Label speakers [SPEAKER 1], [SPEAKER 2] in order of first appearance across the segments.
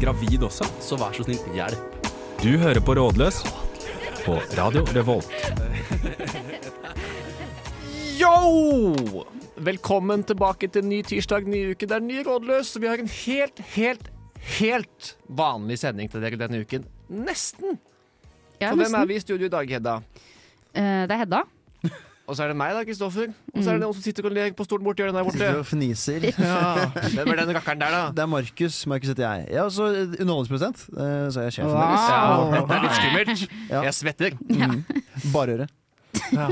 [SPEAKER 1] gravid også, så vær så snill, hjelp. Du hører på Rådløs på Radio Revolt.
[SPEAKER 2] Yo! Velkommen tilbake til ny tirsdag, ny uke. Det er ny rådløs. Så vi har en helt, helt, helt vanlig sending til dere denne uken. Nesten.
[SPEAKER 3] Ja,
[SPEAKER 2] For hvem
[SPEAKER 3] nesten.
[SPEAKER 2] er vi i studio i dag, Hedda?
[SPEAKER 3] Eh, det er Hedda.
[SPEAKER 2] Og så er det meg, da, Kristoffer. Og så er det noen som sitter og ler på stolen borti hjørnet der borte.
[SPEAKER 4] Sitter og fniser.
[SPEAKER 2] Ja, Hvem er den rakkeren der, da?
[SPEAKER 4] Det er Markus. Markus heter jeg. Jeg er også underholdningsprosent, eh, så jeg er sjefen
[SPEAKER 3] Wow.
[SPEAKER 4] deres.
[SPEAKER 2] Ja, dette er litt skummelt.
[SPEAKER 4] Ja.
[SPEAKER 2] Jeg svetter.
[SPEAKER 4] Bare øre.
[SPEAKER 2] Ja.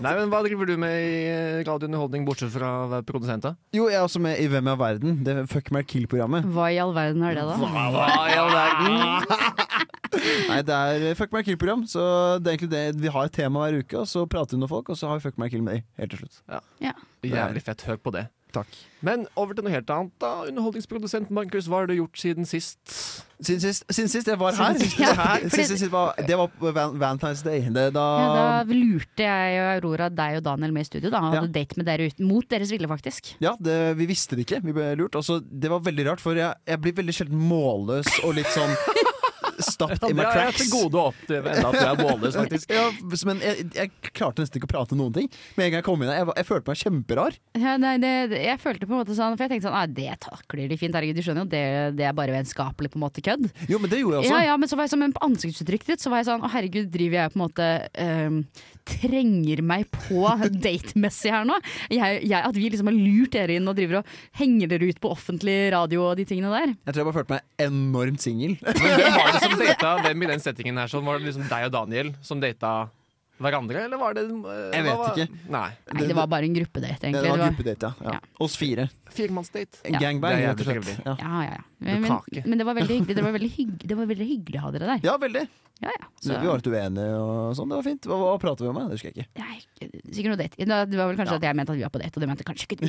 [SPEAKER 2] Nei, men Hva driver du med i eh, Radio Underholdning, bortsett fra å være produsent? da?
[SPEAKER 4] Jo, jeg er også med i Hvem er verden? Det er Fuck Mark Kill-programmet.
[SPEAKER 3] Hva i all verden er det, da?
[SPEAKER 2] Hva i all verden?
[SPEAKER 4] Nei, det er Fuck Mark Kill-program. Så det er egentlig det vi har et tema hver uke, og så prater vi med folk, og så har vi Fuck Mark Kill med deg helt til slutt.
[SPEAKER 3] Ja.
[SPEAKER 2] Jævlig fett. Hør på det.
[SPEAKER 4] Takk.
[SPEAKER 2] Men over til noe helt annet, da. Underholdningsprodusent Markus, hva har du gjort siden sist?
[SPEAKER 4] Siden sist, siden sist jeg var her,
[SPEAKER 3] Siden sist jeg var her.
[SPEAKER 4] Siden sist jeg var, det var på Van- Valentine's Day. Det, da,
[SPEAKER 3] Ja, da lurte jeg og Aurora deg og Daniel med i studio. Da Han hadde
[SPEAKER 4] Ja.
[SPEAKER 3] date med dere ut, mot deres vilje, faktisk.
[SPEAKER 4] Ja, det, vi visste det ikke. Vi ble lurt. Også, det var veldig rart, for jeg, jeg blir veldig sjelden målløs og litt sånn stapped in my cracks.
[SPEAKER 2] gode å oppleve enda at du er målløs, faktisk.
[SPEAKER 4] Ja, men jeg, jeg klarte nesten ikke å prate noen ting. Med en gang jeg kom inn her, jeg, var- jeg følte meg kjemperar.
[SPEAKER 3] Ja, nei, det, det- jeg følte på en måte sånn, for jeg tenkte sånn Nei, det takler de fint, herregud. Du skjønner jo, det, det er bare vennskapelig på en måte kødd.
[SPEAKER 4] Jo, men det gjorde jeg også.
[SPEAKER 3] Ja, ja, men så var jeg sånn, men på ansiktsuttrykket ditt så var jeg sånn Å herregud, driver jeg på en måte øhm, Trenger meg på datemessig her nå? Jeg, jeg, at vi liksom har lurt dere inn og driver og henger dere ut på offentlig radio og de tingene der.
[SPEAKER 4] Jeg tror jeg bare følte meg enormt singel.
[SPEAKER 2] Men hvem var det som data hvem i den settingen her? Sånn, var det liksom deg og Daniel som data hverandre, eller var det eh,
[SPEAKER 4] Jeg vet
[SPEAKER 2] hva var-
[SPEAKER 4] ikke.
[SPEAKER 2] Nei.
[SPEAKER 3] Nei, det var bare en gruppedate,
[SPEAKER 4] Det
[SPEAKER 3] egentlig.
[SPEAKER 4] var
[SPEAKER 3] Det var-
[SPEAKER 4] gruppedate, ja.
[SPEAKER 3] Ja.
[SPEAKER 4] ja. Oss fire.
[SPEAKER 2] Firemannsdate.
[SPEAKER 4] En
[SPEAKER 3] Ja.
[SPEAKER 4] gangbang,
[SPEAKER 2] Det er
[SPEAKER 4] rett og
[SPEAKER 2] jævlig
[SPEAKER 4] slett.
[SPEAKER 2] trivelig.
[SPEAKER 4] Ja.
[SPEAKER 3] Ja, ja, ja. Men, men,
[SPEAKER 2] kake.
[SPEAKER 3] men det var veldig hyggelig. Det var veldig, hygg, det var veldig hyggelig å ha dere der.
[SPEAKER 4] ja, veldig.
[SPEAKER 3] Ja, ja.
[SPEAKER 4] Så vi var litt uenige og sånn. Det var fint. Hva, hva prater vi om? da? Det husker jeg ikke.
[SPEAKER 3] Nei, sikkert noe date. Da- Det var vel kanskje at jeg mente at vi var på date, og det mente kanskje ikke du.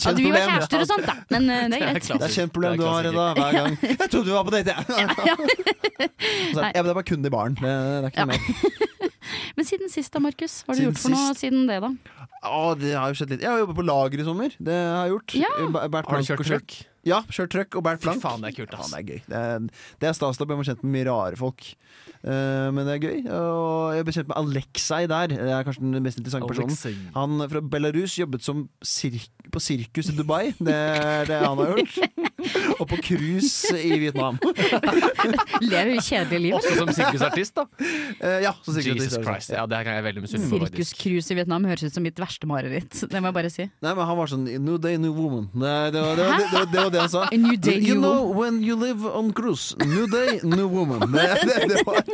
[SPEAKER 3] At vi var
[SPEAKER 4] problem.
[SPEAKER 3] kjærester og sånt, da. Men eh, det er greit.
[SPEAKER 4] Det er et kjent problem du har Hedda, hver gang. Jeg trodde du var på date, jeg! Ja. ja, men det er bare kun i baren. Det, det er ikke noe mer.
[SPEAKER 3] Men siden sist da, Markus. Hva har du
[SPEAKER 4] Siden
[SPEAKER 3] gjort for noe siden det, da?
[SPEAKER 4] Å, det har jo skjedd litt. Jeg har jobbet på lager i sommer. Det har jeg gjort.
[SPEAKER 3] Ja.
[SPEAKER 4] Ba- Bært
[SPEAKER 2] Har du
[SPEAKER 4] plank
[SPEAKER 2] kjørt
[SPEAKER 4] og skjørt.
[SPEAKER 2] truck?
[SPEAKER 4] Ja, kjørt trøkk og bært
[SPEAKER 2] Fy
[SPEAKER 4] plank.
[SPEAKER 2] faen, det er kult, ass.
[SPEAKER 4] Faen, det er gøy. Det er, det er stas, da blir man kjent med mye rare folk. Eh, men det er gøy. Og jeg ble kjent med Aleksei der. Det er kanskje den mest interessante personen. Han fra Belarus jobbet som sirk på sirkus i Dubai. Det er det han har gjort. Og på cruise i Vietnam.
[SPEAKER 3] Lever vi kjedelige liv?
[SPEAKER 2] Også som sirkusartist, da.
[SPEAKER 4] Eh, ja, så sirkus-
[SPEAKER 2] Jesus Christ. Ja, det her er jeg veldig misunnelig på. faktisk.
[SPEAKER 3] Sirkuscruise i Vietnam høres ut som mitt verste mareritt. Det må jeg bare si.
[SPEAKER 4] Nei, men han var sånn New day, new woman. Nei, det, var, det, var, det, var, det var det han sa.
[SPEAKER 3] A new day,
[SPEAKER 4] you
[SPEAKER 3] new
[SPEAKER 4] know when you live on cruise. New day, new woman. Det, det, det, var,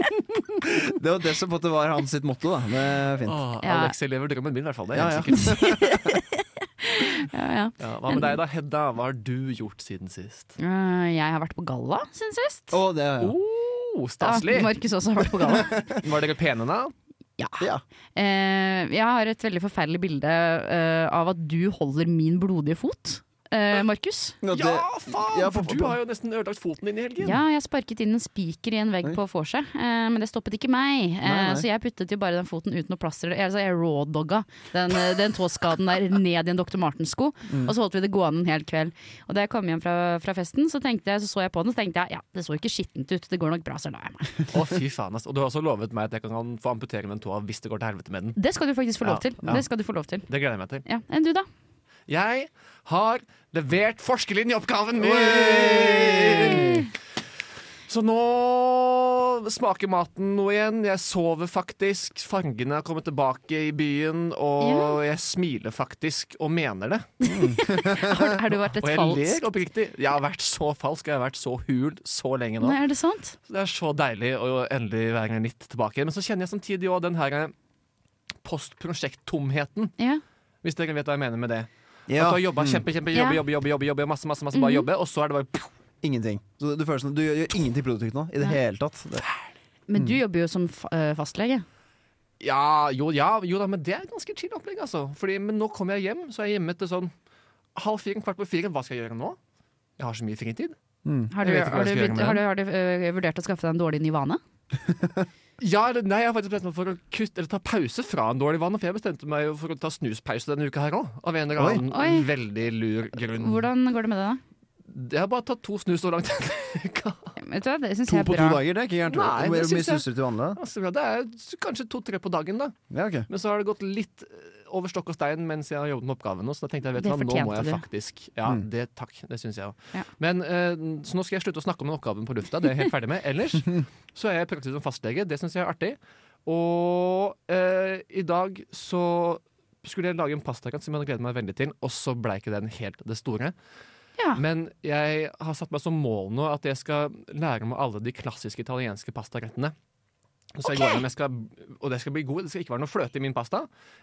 [SPEAKER 4] det var det som på en måte var hans sitt motto, da. Det er fint.
[SPEAKER 2] Åh,
[SPEAKER 3] Ja.
[SPEAKER 2] Ah, Alex lever drømmen min, i hvert fall. Det er
[SPEAKER 4] Ja,
[SPEAKER 2] helt
[SPEAKER 4] ja.
[SPEAKER 2] sikkert.
[SPEAKER 3] Ja, ja.
[SPEAKER 2] Ja, hva med deg da, Hedda? Hva har du gjort siden sist?
[SPEAKER 3] Eh, Jeg har vært på galla siden sist.
[SPEAKER 4] Å, det er ja. Ah,
[SPEAKER 2] Oh,
[SPEAKER 3] Ja,
[SPEAKER 2] staselig!
[SPEAKER 3] Markus også har vært på galla.
[SPEAKER 2] Var dere pene da?
[SPEAKER 3] Ja.
[SPEAKER 4] ja.
[SPEAKER 3] Eh, jeg har et veldig forferdelig bilde eh, av at du holder min blodige fot, eh, Markus.
[SPEAKER 4] Og det-
[SPEAKER 2] Ja, faen!
[SPEAKER 4] Ja,
[SPEAKER 2] for
[SPEAKER 4] for-
[SPEAKER 2] du har jo nesten ødelagt foten din i helgen.
[SPEAKER 3] Ja, jeg sparket inn en spiker i en vegg
[SPEAKER 4] Oi.
[SPEAKER 3] på vorset, eh, men det stoppet ikke meg. Eh,
[SPEAKER 4] Nei, nei.
[SPEAKER 3] Så jeg puttet jo bare den foten uten noe plaster. Altså jeg raw-dogga den, eh, den tåskaden der ned i en Dr. Martens-sko,
[SPEAKER 2] Mm.
[SPEAKER 3] og så holdt vi det gående en hel kveld. Og da jeg kom hjem fra, fra festen, så, tenkte jeg, så så jeg på den, så tenkte jeg ja, det så jo ikke skittent ut, det går nok bra, så la jeg meg.
[SPEAKER 2] Å, fy faen, ass. Og du har også lovet meg at jeg kan få amputere den tåa hvis det går til helvete med den.
[SPEAKER 3] Det skal du faktisk få lov
[SPEAKER 2] Ja,
[SPEAKER 3] til.
[SPEAKER 2] ja.
[SPEAKER 3] Det skal du få lov til.
[SPEAKER 2] Det gleder jeg meg til.
[SPEAKER 3] Ja, Enn du, da?
[SPEAKER 2] Jeg har levert forskerlinjeoppgaven min! Så nå smaker maten noe igjen. Jeg sover faktisk. Fargene har kommet tilbake i byen, og jeg smiler faktisk og mener det.
[SPEAKER 3] Har, har du vært et
[SPEAKER 2] Og jeg ler
[SPEAKER 3] falsk
[SPEAKER 2] oppriktig. Jeg har vært så falsk og jeg har vært så hul så lenge nå.
[SPEAKER 3] Nei, er det sant?
[SPEAKER 2] Så Det er så deilig å endelig være litt tilbake. Men så kjenner jeg samtidig òg den her eh, postprosjekt-tomheten,
[SPEAKER 3] Ja.
[SPEAKER 2] hvis dere vet hva jeg mener med det.
[SPEAKER 4] Ja. Mm.
[SPEAKER 2] At du har jobba kjempe, kjempe,
[SPEAKER 3] Ja.
[SPEAKER 2] jobbe, jobbe, jobbe, jobbe, jobbe, masse, masse, masse, bare jobbe, og så er det bare
[SPEAKER 4] Ingenting. Så det føles som du gjør, gjør ingenting produktivt nå i det
[SPEAKER 3] Nei.
[SPEAKER 4] hele tatt. Det.
[SPEAKER 3] Men du
[SPEAKER 2] Mm.
[SPEAKER 3] jobber jo som fa- eh, fastlege.
[SPEAKER 2] Ja, jo, ja, jo da, men det er ganske chill opplegg, altså. Fordi, men nå kommer jeg hjem, så er jeg hjemme til sånn halv fire, kvart på fire. Hva skal jeg gjøre nå? Jeg har så mye fritid.
[SPEAKER 3] Har du,
[SPEAKER 2] Mm. Jeg vet ikke hva
[SPEAKER 3] har du,
[SPEAKER 2] jeg skal gjøre
[SPEAKER 3] begynt-
[SPEAKER 2] med
[SPEAKER 3] har
[SPEAKER 2] den.
[SPEAKER 3] du, har du eh, vurdert å skaffe deg en dårlig ny vane?
[SPEAKER 2] Ja, eller- nei, jeg har faktisk bestemt meg for å kutte, eller ta pause fra en dårlig vane. For jeg bestemte meg jo for å ta snuspause denne uka her òg, av en eller
[SPEAKER 4] Oi.
[SPEAKER 2] annen
[SPEAKER 3] Oi.
[SPEAKER 2] veldig lur grunn.
[SPEAKER 3] Hvordan går det med det, da?
[SPEAKER 2] Jeg har bare tatt to snus så langt.
[SPEAKER 3] Vet du hva, det syns
[SPEAKER 4] To
[SPEAKER 3] jeg er
[SPEAKER 4] på to
[SPEAKER 3] bra.
[SPEAKER 4] dager, det er ikke gærent.
[SPEAKER 2] Nei,
[SPEAKER 4] Hvor
[SPEAKER 2] det
[SPEAKER 4] mye
[SPEAKER 2] synes jeg-
[SPEAKER 4] snuser du til vanlig? da?
[SPEAKER 2] Altså, bra, det er kanskje to-tre på dagen, da.
[SPEAKER 4] Ja, ok.
[SPEAKER 2] Men så har det gått litt eh, over stokk og stein mens jeg har jobbet med oppgaven. nå, Så da tenkte jeg vet du
[SPEAKER 3] Det
[SPEAKER 2] hva, nå må jeg
[SPEAKER 3] fortjente du.
[SPEAKER 2] faktisk Ja, det, takk. Det syns jeg òg.
[SPEAKER 3] Ja.
[SPEAKER 2] Men, eh, Så nå skal jeg slutte å snakke om den oppgaven på lufta. Det er jeg helt ferdig med. Ellers så er jeg i praksis som fastlege. Det syns jeg er artig. Og eh, i dag så skulle jeg lage en pastakant som jeg hadde gledet meg veldig til, og så ble ikke den helt det store.
[SPEAKER 3] Ja.
[SPEAKER 2] Men jeg har satt meg som mål nå at jeg skal lære meg alle de klassiske italienske pastarettene. Så jeg går gjennom, jeg skal, og det skal bli god. Det skal ikke være noe fløte i min pasta.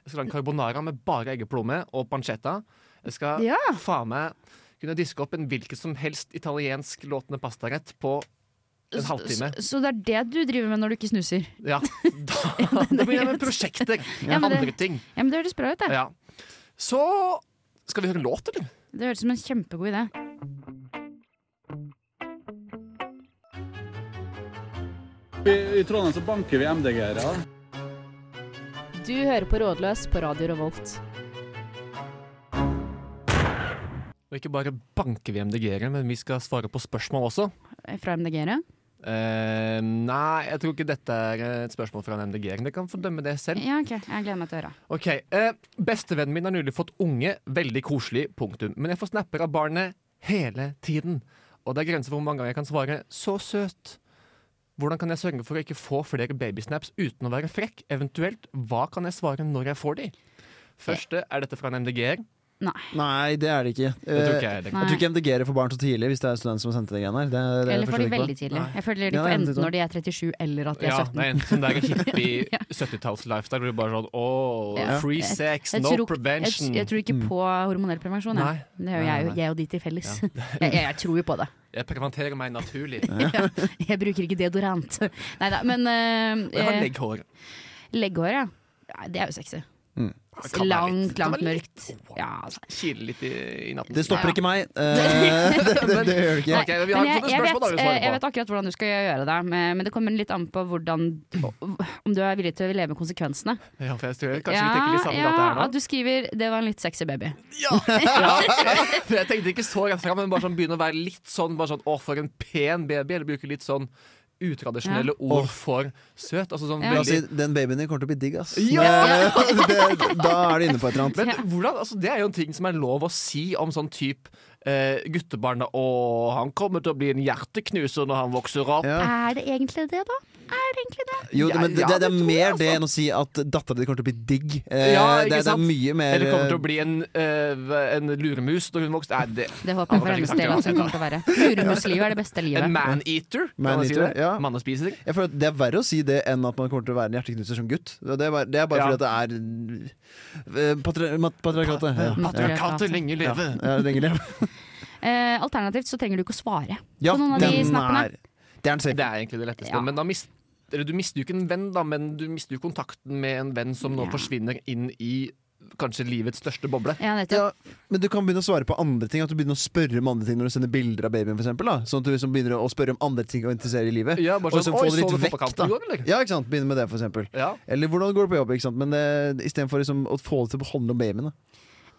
[SPEAKER 2] Jeg skal lage en carbonara med bare eggeplomme og pancetta. Jeg skal
[SPEAKER 3] Ja.
[SPEAKER 2] faen meg kunne diske opp en hvilken som helst italiensk låtende pastarett på en halvtime.
[SPEAKER 3] Så, så det er det du driver med når du ikke snuser?
[SPEAKER 2] Ja, da, da begynner jeg med prosjekter.
[SPEAKER 3] Ja, men det-
[SPEAKER 2] Andre ting.
[SPEAKER 3] Ja, men Det høres bra ut, det.
[SPEAKER 2] Ja. Så skal vi høre en låt, eller?
[SPEAKER 3] Det høres ut som en kjempegod idé.
[SPEAKER 5] I, i Trondheim så banker vi MDG-ere.
[SPEAKER 6] Du hører på Rådløs på Radio Revolt.
[SPEAKER 2] Og ikke bare banker vi MDG-ere, men vi skal svare på spørsmål også.
[SPEAKER 3] Fra MDG-ere.
[SPEAKER 2] Eh, nei, jeg tror ikke dette er et spørsmål fra en MDG-er. Dere kan fordømme det selv.
[SPEAKER 3] Ja, ok. Jeg gleder meg til å høre.
[SPEAKER 2] Ok, eh, Bestevennen min har nylig fått unge. Veldig koselig, punktum. Men jeg får snapper av barnet hele tiden. Og det er grenser for hvor mange ganger jeg kan svare 'så søt'. Hvordan kan jeg sørge for å ikke få flere babysnaps uten å være frekk? Eventuelt, hva kan jeg svare når jeg får de? Første, er dette fra en MDG-er?
[SPEAKER 4] Nei, det er det ikke.
[SPEAKER 2] Det tror
[SPEAKER 4] Eh,
[SPEAKER 2] ikke jeg. det.
[SPEAKER 4] Jeg tror ikke MDG-ere får barn så tidlig, hvis det er student som har sendt det greiene her. Det, det
[SPEAKER 3] Eller får
[SPEAKER 4] forstår
[SPEAKER 3] de
[SPEAKER 4] jeg ikke
[SPEAKER 3] veldig tidlig.
[SPEAKER 2] Nei.
[SPEAKER 3] Jeg føler de får
[SPEAKER 4] Ja, det er
[SPEAKER 3] enten
[SPEAKER 4] litt-
[SPEAKER 3] når de er 37 eller at de er
[SPEAKER 2] Ja,
[SPEAKER 3] 17.
[SPEAKER 2] det er en sånn der hippie 70-talls-lifestyle hvor du bare sånn åh,
[SPEAKER 3] Ja.
[SPEAKER 2] free sex,
[SPEAKER 3] Jeg
[SPEAKER 2] no
[SPEAKER 3] tror-
[SPEAKER 2] prevention.
[SPEAKER 3] Jeg, jeg tror ikke på hormonell prevensjon.
[SPEAKER 2] Nei.
[SPEAKER 3] Jeg. Det gjør
[SPEAKER 2] Nei,
[SPEAKER 3] jeg,
[SPEAKER 2] nei.
[SPEAKER 3] jo- jeg og de til felles. Jeg, jeg, jeg tror jo på det.
[SPEAKER 2] Jeg preventerer meg naturlig.
[SPEAKER 3] Jeg bruker ikke deodorant. Nei da, men eh,
[SPEAKER 2] Jeg har
[SPEAKER 3] eh,
[SPEAKER 2] legghår.
[SPEAKER 3] legghår, ja. Nei, Det er jo sexy.
[SPEAKER 2] Det kan være litt-
[SPEAKER 3] Langt,
[SPEAKER 2] det kan
[SPEAKER 3] langt
[SPEAKER 2] være litt-
[SPEAKER 3] mørkt. Ja, altså.
[SPEAKER 2] Kile litt i, i natten.
[SPEAKER 4] Det stopper
[SPEAKER 3] Ja.
[SPEAKER 4] ikke meg. Eh, det, det, det gjør det ikke.
[SPEAKER 2] Ok, vi har
[SPEAKER 3] Men jeg,
[SPEAKER 2] sånne
[SPEAKER 3] jeg,
[SPEAKER 2] spørsmål da
[SPEAKER 3] vet,
[SPEAKER 2] vi
[SPEAKER 3] eh, jeg
[SPEAKER 2] svarer
[SPEAKER 3] vet
[SPEAKER 2] på.
[SPEAKER 3] akkurat hvordan du skal gjøre det, men men det kommer litt an på hvordan, om du er villig til å leve med konsekvensene.
[SPEAKER 2] Ja, for jeg tror kanskje vi tenker litt samme
[SPEAKER 3] ja,
[SPEAKER 2] gata her nå.
[SPEAKER 3] at du skriver 'det var en litt sexy baby'.
[SPEAKER 2] Ja, for jeg tenkte ikke så rett fram, men bare sånn begynne å være litt sånn bare sånn, Å, for en pen baby. Eller bruke litt sånn utradisjonelle ord for søt. Altså sånn
[SPEAKER 3] Ja.
[SPEAKER 4] La oss si,
[SPEAKER 2] veldig
[SPEAKER 4] den babyen din kommer til å bli digg, ass.
[SPEAKER 2] Ja!
[SPEAKER 4] Det, det, da er du inne på et eller annet.
[SPEAKER 2] Men hvordan, altså Det er jo en ting som er lov å si om sånn type eh, guttebarn. da. Å, han kommer til å bli en hjerteknuser når han vokser opp.
[SPEAKER 4] Ja.
[SPEAKER 3] Er det egentlig det, da? Er det egentlig det?
[SPEAKER 4] Jo, det,
[SPEAKER 2] Ja,
[SPEAKER 4] men det,
[SPEAKER 2] ja,
[SPEAKER 4] det, det
[SPEAKER 2] det
[SPEAKER 4] er
[SPEAKER 2] tror jeg,
[SPEAKER 4] mer det
[SPEAKER 2] altså.
[SPEAKER 4] enn å si at dattera di kommer til å bli digg. Eh,
[SPEAKER 2] Ja, ikke
[SPEAKER 4] det, det
[SPEAKER 2] sant?
[SPEAKER 4] er eh, mye mer
[SPEAKER 2] Eller kommer til å bli en, eh, en luremus når hun vokser. Nei, det
[SPEAKER 3] Det håper jeg
[SPEAKER 2] Ja,
[SPEAKER 3] for hennes
[SPEAKER 2] det er
[SPEAKER 3] del at
[SPEAKER 2] sant,
[SPEAKER 4] altså.
[SPEAKER 3] hun kommer til å være. Luremuslivet er det beste livet.
[SPEAKER 2] En maneater, kan man si det?
[SPEAKER 4] Man-eater, ja.
[SPEAKER 2] Mannespiser.
[SPEAKER 4] jeg føler at Det er verre å si det enn at man kommer til å være en hjerteknuser som gutt. Det er bare, det er bare
[SPEAKER 2] Ja.
[SPEAKER 4] fordi at det er eh, patri, mat- patriarkatet. Ja.
[SPEAKER 2] eh, Patriarkatet lenge leve.
[SPEAKER 4] Ja, lenge leve.
[SPEAKER 3] Eh, alternativt så trenger du ikke å svare
[SPEAKER 4] Ja,
[SPEAKER 3] på noen av de
[SPEAKER 4] den
[SPEAKER 3] snappene.
[SPEAKER 4] er Det er en
[SPEAKER 2] Det
[SPEAKER 4] safe.
[SPEAKER 2] er egentlig det letteste.
[SPEAKER 3] Ja.
[SPEAKER 2] Men da mis- eller du mister jo ikke en venn, da, men du mister jo kontakten med en venn som nå
[SPEAKER 3] Ja.
[SPEAKER 2] forsvinner inn i kanskje livets største boble.
[SPEAKER 3] Ja, nettopp.
[SPEAKER 4] Ja, men du kan begynne å svare på andre ting. At du begynner å spørre om andre ting når du sender bilder av babyen. For eksempel, da. Sånn at du liksom begynner å spørre om andre ting og interessere i livet.
[SPEAKER 2] Ja, bare
[SPEAKER 4] Og så
[SPEAKER 2] sånn,
[SPEAKER 4] få
[SPEAKER 2] Oi,
[SPEAKER 4] det
[SPEAKER 2] så
[SPEAKER 4] litt
[SPEAKER 2] du
[SPEAKER 4] vekk,
[SPEAKER 2] fotballkampen i
[SPEAKER 4] da.
[SPEAKER 2] går, eller?
[SPEAKER 4] Ja, ikke sant? Begynne med det, for eksempel.
[SPEAKER 2] Ja.
[SPEAKER 4] Eller hvordan går det på jobb, ikke sant? Men eh, istedenfor liksom, å få det til å handle om babyen. Da.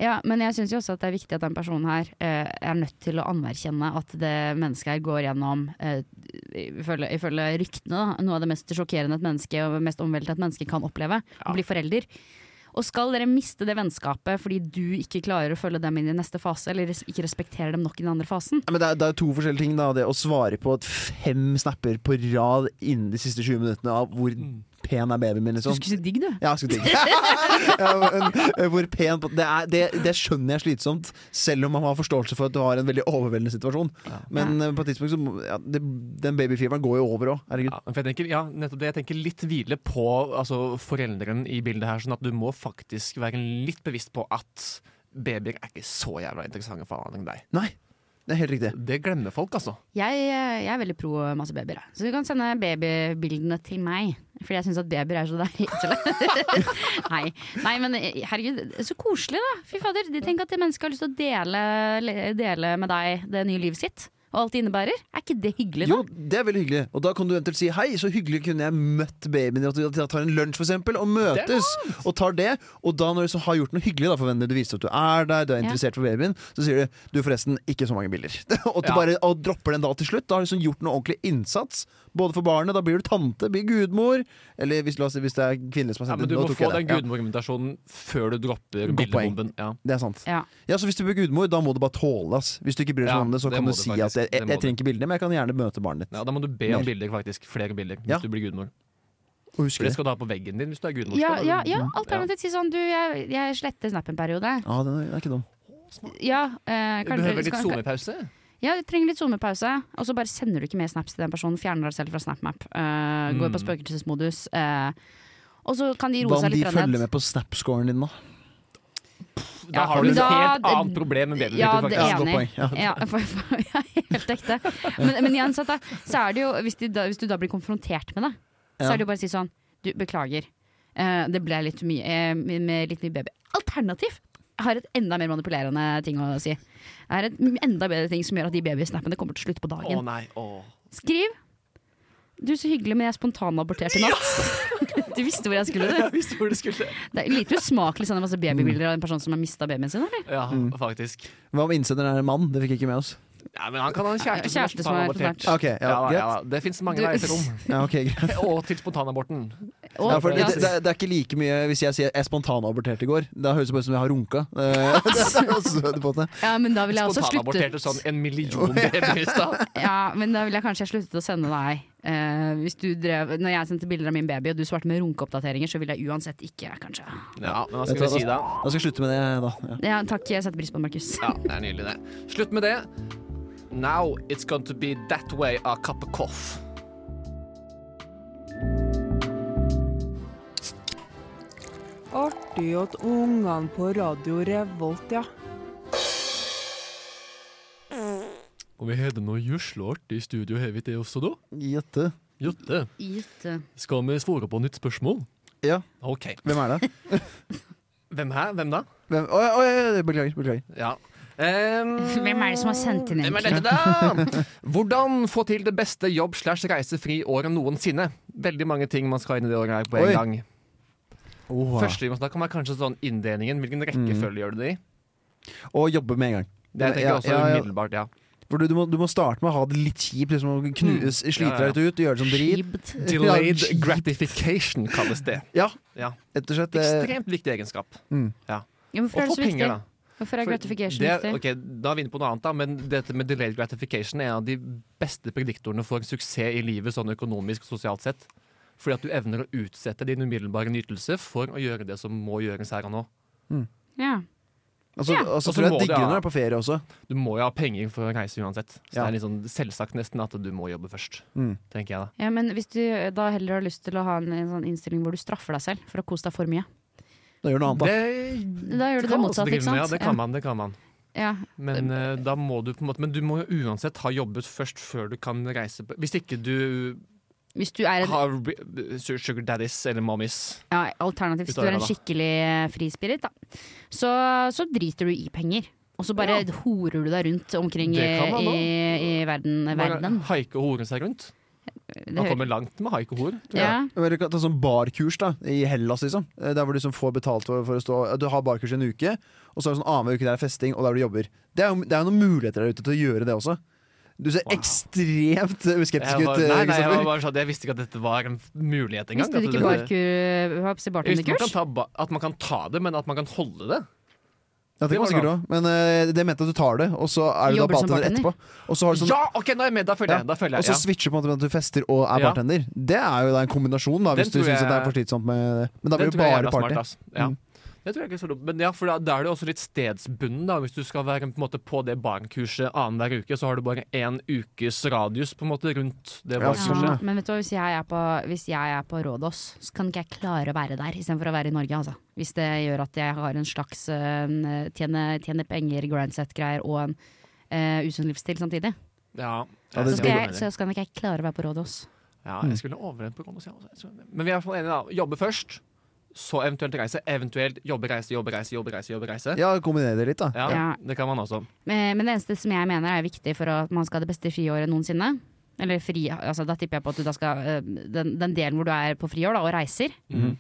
[SPEAKER 3] Ja, men jeg syns jo også at det er viktig at den personen her eh, er nødt til å anerkjenne at det mennesket her går gjennom, eh, ifølge, ifølge ryktene, da, noe av det mest sjokkerende et menneske og mest omveltende et menneske kan oppleve. Å bli forelder. Og skal dere miste det vennskapet fordi du ikke klarer å følge dem inn i neste fase, eller res ikke respekterer dem nok i den andre fasen?
[SPEAKER 4] Ja, Men det er, det er to forskjellige ting. Da. Det å svare på et fem snapper på rad innen de siste 20 minuttene av hvor pen er babyen min,
[SPEAKER 3] Du
[SPEAKER 4] liksom.
[SPEAKER 3] skulle si digg, du.
[SPEAKER 4] Ja, jeg skulle tenke. ja, men, eh, hvor pen på, det, er, det, det skjønner jeg er slitsomt, selv om man har forståelse for at du har en veldig overveldende situasjon. Men eh, på et tidspunkt så må- ja, det, Den babyfeberen går jo over òg. Herregud.
[SPEAKER 2] Ja, for jeg tenker, ja, nettopp det. Jeg tenker litt hvile på altså, foreldren i bildet her, sånn at du må faktisk være litt bevisst på at babyer er ikke så jævla interessante for annet enn deg.
[SPEAKER 4] Nei, det er helt riktig.
[SPEAKER 2] Det glemmer folk, altså.
[SPEAKER 3] Jeg, eh, jeg er veldig pro masse babyer. jeg. Så du kan sende babybildene til meg. Fordi jeg syns at babyer er så deilige. Nei. Nei, men eh, herregud, så koselig, da. Fy fader. de- Tenk at det mennesket har lyst til å dele, dele med deg det nye livet sitt. og alt det innebærer. Er ikke det hyggelig, da?
[SPEAKER 4] Jo, det er veldig hyggelig. Og da kan du eventuelt si hei, så hyggelig kunne jeg møtt babyen. At vi at vi tar en lunsj, for eksempel, og møtes. Og tar det. Og da når du så har gjort noe hyggelig, da, for venner, du viser at du er der, du er
[SPEAKER 3] Ja.
[SPEAKER 4] interessert for babyen, så sier du du forresten ikke så mange bilder. og at du
[SPEAKER 2] Ja.
[SPEAKER 4] bare og dropper den da til slutt. Da har du liksom gjort noe ordentlig innsats. Både for barnet, da blir du tante, blir gudmor. Eller hvis, la oss, si, hvis det er kvinnelig som
[SPEAKER 2] Ja,
[SPEAKER 4] har
[SPEAKER 2] men
[SPEAKER 4] sendt inn,
[SPEAKER 2] du
[SPEAKER 4] nå
[SPEAKER 2] må
[SPEAKER 4] tok
[SPEAKER 2] få
[SPEAKER 4] jeg
[SPEAKER 2] den
[SPEAKER 4] det.
[SPEAKER 2] gudmorgumentasjonen før du dropper
[SPEAKER 4] Godt poeng.
[SPEAKER 2] bildebomben. Ja.
[SPEAKER 4] Ja, det er sant.
[SPEAKER 3] Ja.
[SPEAKER 4] Ja, så Hvis du blir gudmor, da må du bare tåle. Ass. Hvis du ikke bryr deg
[SPEAKER 2] Ja,
[SPEAKER 4] om det, så
[SPEAKER 2] det
[SPEAKER 4] kan
[SPEAKER 2] må
[SPEAKER 4] du
[SPEAKER 2] du
[SPEAKER 4] si
[SPEAKER 2] faktisk.
[SPEAKER 4] at
[SPEAKER 2] Det
[SPEAKER 4] jeg, jeg,
[SPEAKER 2] må
[SPEAKER 4] jeg
[SPEAKER 2] du.
[SPEAKER 4] trenger ikke bilder, men jeg kan gjerne møte barnet ditt.
[SPEAKER 2] Ja, da må du be om
[SPEAKER 4] Mer.
[SPEAKER 2] bilder, faktisk. Flere bilder, hvis
[SPEAKER 4] Ja.
[SPEAKER 2] du blir gudmor.
[SPEAKER 4] Og
[SPEAKER 2] For
[SPEAKER 4] husk
[SPEAKER 2] det
[SPEAKER 4] det.
[SPEAKER 2] skal du ha på veggen din hvis du er gudmor.
[SPEAKER 3] Ja,
[SPEAKER 2] Skal du-
[SPEAKER 3] ja, ja,
[SPEAKER 4] Mm.
[SPEAKER 3] alternativt si sånn du, jeg, jeg sletter Snap en periode.
[SPEAKER 4] Ja, den er, den er ikke dum.
[SPEAKER 3] Ja, eh,
[SPEAKER 2] Du
[SPEAKER 3] kan-
[SPEAKER 2] behøver litt
[SPEAKER 3] kan-
[SPEAKER 2] SoMe-pause.
[SPEAKER 3] Ja, jeg trenger litt sommerpause. Og så bare sender du ikke mer snaps til den personen. Fjerner deg selv fra SnapMap. eh, Går på spøkelsesmodus. eh, og så kan de
[SPEAKER 4] Mm. Hva
[SPEAKER 3] roe
[SPEAKER 4] om
[SPEAKER 3] seg
[SPEAKER 4] de
[SPEAKER 3] litt.
[SPEAKER 4] følger med på Snap-scoren din, da?
[SPEAKER 2] Da
[SPEAKER 3] Ja,
[SPEAKER 2] har du et
[SPEAKER 3] da-
[SPEAKER 2] helt annet problem enn babyen.
[SPEAKER 3] Ja,
[SPEAKER 2] din,
[SPEAKER 3] det
[SPEAKER 2] faktisk.
[SPEAKER 3] er
[SPEAKER 4] Ja, godt
[SPEAKER 3] enig.
[SPEAKER 4] poeng,
[SPEAKER 3] Ja, for, for, ja, helt ekte. Men, men igjen, så, at da, så er det jo hvis, de da, hvis du da blir konfrontert med det, så
[SPEAKER 4] Ja.
[SPEAKER 3] er det jo bare å si sånn Du, beklager. Eh, det ble litt mye eh, med litt mye baby. Alternativ! Jeg har et enda mer manipulerende ting å si. Jeg har et enda bedre ting som gjør at de babysnappene kommer til slutt på dagen.
[SPEAKER 2] Å nei, å.
[SPEAKER 3] Skriv. Du, så hyggelig, men jeg spontanaborterte i natt. Du visste hvor jeg skulle, du.
[SPEAKER 2] Jeg visste hvor det skulle.
[SPEAKER 3] Det er lite usmakelig å sende masse babybilder av en person som har mista babyen sin. Eller?
[SPEAKER 2] Ja,
[SPEAKER 4] Mm.
[SPEAKER 2] faktisk.
[SPEAKER 4] Hva om innsenderen er en mann? Det fikk jeg ikke med oss.
[SPEAKER 2] Nei, men han kan ha en kjæreste,
[SPEAKER 3] Kjæreste som er
[SPEAKER 2] spontanabortert.
[SPEAKER 3] på
[SPEAKER 4] Ok, ja,
[SPEAKER 2] Ja,
[SPEAKER 4] greit.
[SPEAKER 2] ja, det fins mange
[SPEAKER 3] Du-
[SPEAKER 2] veier til rom.
[SPEAKER 4] Ja, ok, greit.
[SPEAKER 2] Og til spontanaborten.
[SPEAKER 3] Og,
[SPEAKER 4] Ja, for det,
[SPEAKER 3] ja,
[SPEAKER 4] det, det er ikke like mye hvis jeg sier jeg spontanaborterte i går. Da høres det bare ut som jeg har runka. Eh, det er også søt på det.
[SPEAKER 3] ja, men da vil jeg også
[SPEAKER 2] Spontanaborterte
[SPEAKER 3] slutte
[SPEAKER 2] sånn en million babyer i stad.
[SPEAKER 3] Ja, men da vil jeg kanskje slutte å sende deg eh, Hvis du drev Når jeg sendte bilder av min baby, og du svarte med runkeoppdateringer, så vil jeg uansett ikke, kanskje.
[SPEAKER 2] Ja, men hva
[SPEAKER 4] skal vi si
[SPEAKER 2] da?
[SPEAKER 4] Da skal jeg slutte med det, da. Ja.
[SPEAKER 3] Ja, takk, jeg setter pris på det, Markus.
[SPEAKER 2] Ja, det er nydelig, det. Slutt med det. Now it's going to be that way a cup of coffee.
[SPEAKER 7] Artig at ungene på Radio Revolt, ja.
[SPEAKER 2] Og vi har det noe jøsla artig i studio, har vi det også, da?
[SPEAKER 4] Gjette.
[SPEAKER 2] Jotte,
[SPEAKER 3] Gitt. eh.
[SPEAKER 2] skal vi svare på nytt spørsmål?
[SPEAKER 4] Ja,
[SPEAKER 2] OK.
[SPEAKER 4] hvem er det?
[SPEAKER 2] Hvem her? Hvem da?
[SPEAKER 4] Hvem? Å, ja, å, ja, ja, beklager. beklager.
[SPEAKER 2] Ja. Ehm,
[SPEAKER 3] Hvem er det som har sendt inn
[SPEAKER 2] Hvem er
[SPEAKER 3] egentlig?
[SPEAKER 2] dette, da? Hvordan få til det beste jobb slash reisefri året noensinne? Veldig mange ting man skal inn i det året her på en
[SPEAKER 4] Oi.
[SPEAKER 2] gang.
[SPEAKER 4] Åh.
[SPEAKER 2] Første vi må snakke om, er kanskje sånn inndelingen.
[SPEAKER 4] Mm.
[SPEAKER 2] Hvilken rekkefølge gjør du det i?
[SPEAKER 4] Og jobbe med en gang.
[SPEAKER 2] Det tenker
[SPEAKER 4] Ja,
[SPEAKER 2] jeg også
[SPEAKER 4] ja, ja.
[SPEAKER 2] umiddelbart, ja.
[SPEAKER 4] For du, du, må, du må starte med å ha det litt kjipt. Liksom, og knu,
[SPEAKER 3] Mm.
[SPEAKER 4] slite
[SPEAKER 2] Ja, ja.
[SPEAKER 4] deg litt ut, gjøre det som drit.
[SPEAKER 3] Skibt.
[SPEAKER 2] Delayed
[SPEAKER 4] Ja, kjipt.
[SPEAKER 2] gratification kalles det.
[SPEAKER 4] Ja,
[SPEAKER 2] Ja.
[SPEAKER 4] rett og slett. eh,
[SPEAKER 2] Ekstremt viktig egenskap.
[SPEAKER 3] Ja,
[SPEAKER 2] Og
[SPEAKER 3] Hvorfor er det
[SPEAKER 2] få
[SPEAKER 3] så viktig?
[SPEAKER 2] penger, da.
[SPEAKER 3] Hvorfor er
[SPEAKER 2] For
[SPEAKER 3] gratification
[SPEAKER 2] det,
[SPEAKER 3] viktig?
[SPEAKER 2] ok, da er vi inne på noe annet, da, men dette med delayed gratification er en av de beste prediktorene for suksess i livet sånn økonomisk og sosialt sett. Fordi at du evner å utsette din umiddelbare nytelse for å gjøre det som må gjøres her og nå.
[SPEAKER 3] Ja.
[SPEAKER 4] Altså,
[SPEAKER 3] Ja.
[SPEAKER 4] altså,
[SPEAKER 2] Og så
[SPEAKER 4] tror jeg
[SPEAKER 2] må
[SPEAKER 4] digger
[SPEAKER 2] det, ja.
[SPEAKER 4] når du er på ferie også.
[SPEAKER 2] Du må jo ha penger for å reise uansett. Så
[SPEAKER 4] Ja.
[SPEAKER 2] det er litt sånn selvsagt nesten at du må jobbe først,
[SPEAKER 4] Mm.
[SPEAKER 2] tenker jeg da.
[SPEAKER 3] Ja, men hvis du eh, da heller har lyst til å ha en, en sånn innstilling hvor du straffer deg selv for å kose deg for mye,
[SPEAKER 4] Da gjør du noe annet, da.
[SPEAKER 2] Det
[SPEAKER 3] da gjør du det
[SPEAKER 2] kan man også
[SPEAKER 3] motsatte,
[SPEAKER 2] drive
[SPEAKER 3] ikke
[SPEAKER 2] med,
[SPEAKER 3] sant?
[SPEAKER 2] Ja, det kan man, det kan man.
[SPEAKER 3] Ja.
[SPEAKER 2] Men, eh, da må du på en måte, men du må jo uansett ha jobbet først før du kan reise på Hvis ikke du
[SPEAKER 3] Hvis du er en,
[SPEAKER 2] har re- sugar daddies eller mommies.
[SPEAKER 3] ja, alternativt
[SPEAKER 2] Hvis
[SPEAKER 3] hvis
[SPEAKER 2] du
[SPEAKER 3] du
[SPEAKER 2] er
[SPEAKER 3] er en
[SPEAKER 2] det, da.
[SPEAKER 3] skikkelig eh, frispirit, da, så, så driter du i penger. Og så bare horer du deg rundt omkring
[SPEAKER 2] Det kan
[SPEAKER 3] eh,
[SPEAKER 2] man
[SPEAKER 3] i,
[SPEAKER 2] da.
[SPEAKER 3] i verden. verdenen.
[SPEAKER 2] Bare Haike og hore seg rundt.
[SPEAKER 3] Det
[SPEAKER 2] Man
[SPEAKER 3] hører-
[SPEAKER 2] kommer langt med haike og hor. tror jeg.
[SPEAKER 3] ja.
[SPEAKER 4] Eller ta sånn barkurs da i Hellas, liksom. Eh, Der hvor du liksom får betalt for, for å stå Du har barkurs en uke, og så er det sånn annenhver uke der er festing, og der du jobber. Det er jo det er jo noen muligheter der ute til å gjøre det også. Du ser
[SPEAKER 2] Wow.
[SPEAKER 4] ekstremt skeptisk
[SPEAKER 2] Jeg,
[SPEAKER 4] ut.
[SPEAKER 2] var, nei,
[SPEAKER 4] eh,
[SPEAKER 2] nei, jeg, var
[SPEAKER 4] Kristoffer.
[SPEAKER 2] bare sånn, at jeg visste ikke at dette var en mulighet engang.
[SPEAKER 3] Visste du
[SPEAKER 2] at
[SPEAKER 3] ikke
[SPEAKER 2] det-
[SPEAKER 3] barkur- hva
[SPEAKER 2] Jeg
[SPEAKER 3] heter det,
[SPEAKER 2] visste man kan
[SPEAKER 3] bartendekurs?
[SPEAKER 2] ta ba- at man kan ta det, men at man kan holde det.
[SPEAKER 4] Ja, det kan man
[SPEAKER 2] det var
[SPEAKER 4] sikkert også. Men eh, det mente at du tar det, og så er du da
[SPEAKER 3] Jobber som
[SPEAKER 4] bartender etterpå. Og så, har du sånn,
[SPEAKER 2] Ja, OK, nå er jeg med! Da føler
[SPEAKER 4] Ja,
[SPEAKER 2] jeg. Da føler
[SPEAKER 4] og så
[SPEAKER 2] jeg ja.
[SPEAKER 4] switcher på en måte med at du fester og er
[SPEAKER 2] Ja.
[SPEAKER 4] bartender. Det er jo da en kombinasjon, da,
[SPEAKER 2] Den
[SPEAKER 4] hvis
[SPEAKER 2] tror
[SPEAKER 4] du syns
[SPEAKER 2] jeg-
[SPEAKER 4] det er for slitsomt med det. Men da
[SPEAKER 2] Den
[SPEAKER 4] blir det
[SPEAKER 2] tror jeg er
[SPEAKER 4] bare
[SPEAKER 2] jævla smart,
[SPEAKER 4] party.
[SPEAKER 2] ass. Ja.
[SPEAKER 4] Mm.
[SPEAKER 2] Det tror jeg ikke så dumt. Men ja, for da, da er det jo også litt stedsbunden, da. Hvis du skal være på, en måte, på det barnkurset annenhver uke, så har du bare én ukes radius på en måte rundt det
[SPEAKER 4] Ja,
[SPEAKER 2] barnkurset.
[SPEAKER 4] sånn,
[SPEAKER 3] Ja, men vet du hva, hvis jeg er på, hvis jeg er på Rådås, så kan ikke jeg klare å være der istedenfor å være i Norge, altså. Hvis det gjør at jeg har en slags eh, tjene, tjene penger, grindset-greier og en uh, usunn livsstil samtidig.
[SPEAKER 2] Ja,
[SPEAKER 4] Ja, det
[SPEAKER 2] jeg
[SPEAKER 3] Så skal
[SPEAKER 2] ser
[SPEAKER 3] jeg,
[SPEAKER 2] hva du
[SPEAKER 3] så skal nok jeg klare å være på Rådås.
[SPEAKER 2] Ja, jeg skulle overlevd på Kronos, jeg også. Jeg tror- Men vi er i hvert fall enige, da. Jobbe først. så eventuelt reise, eventuelt jobbe, reise, jobbe, reise, jobbe, reise. jobbe, reise.
[SPEAKER 4] Ja, kombinere det litt, da.
[SPEAKER 2] Ja,
[SPEAKER 3] Ja.
[SPEAKER 2] Det kan man også.
[SPEAKER 3] Eh, Men men det eneste som jeg mener er viktig for at man skal ha det beste skiåret noensinne eller fri, altså Da tipper jeg på at du da skal eh, den, den delen hvor du er på friår da, og reiser,
[SPEAKER 2] Mhm.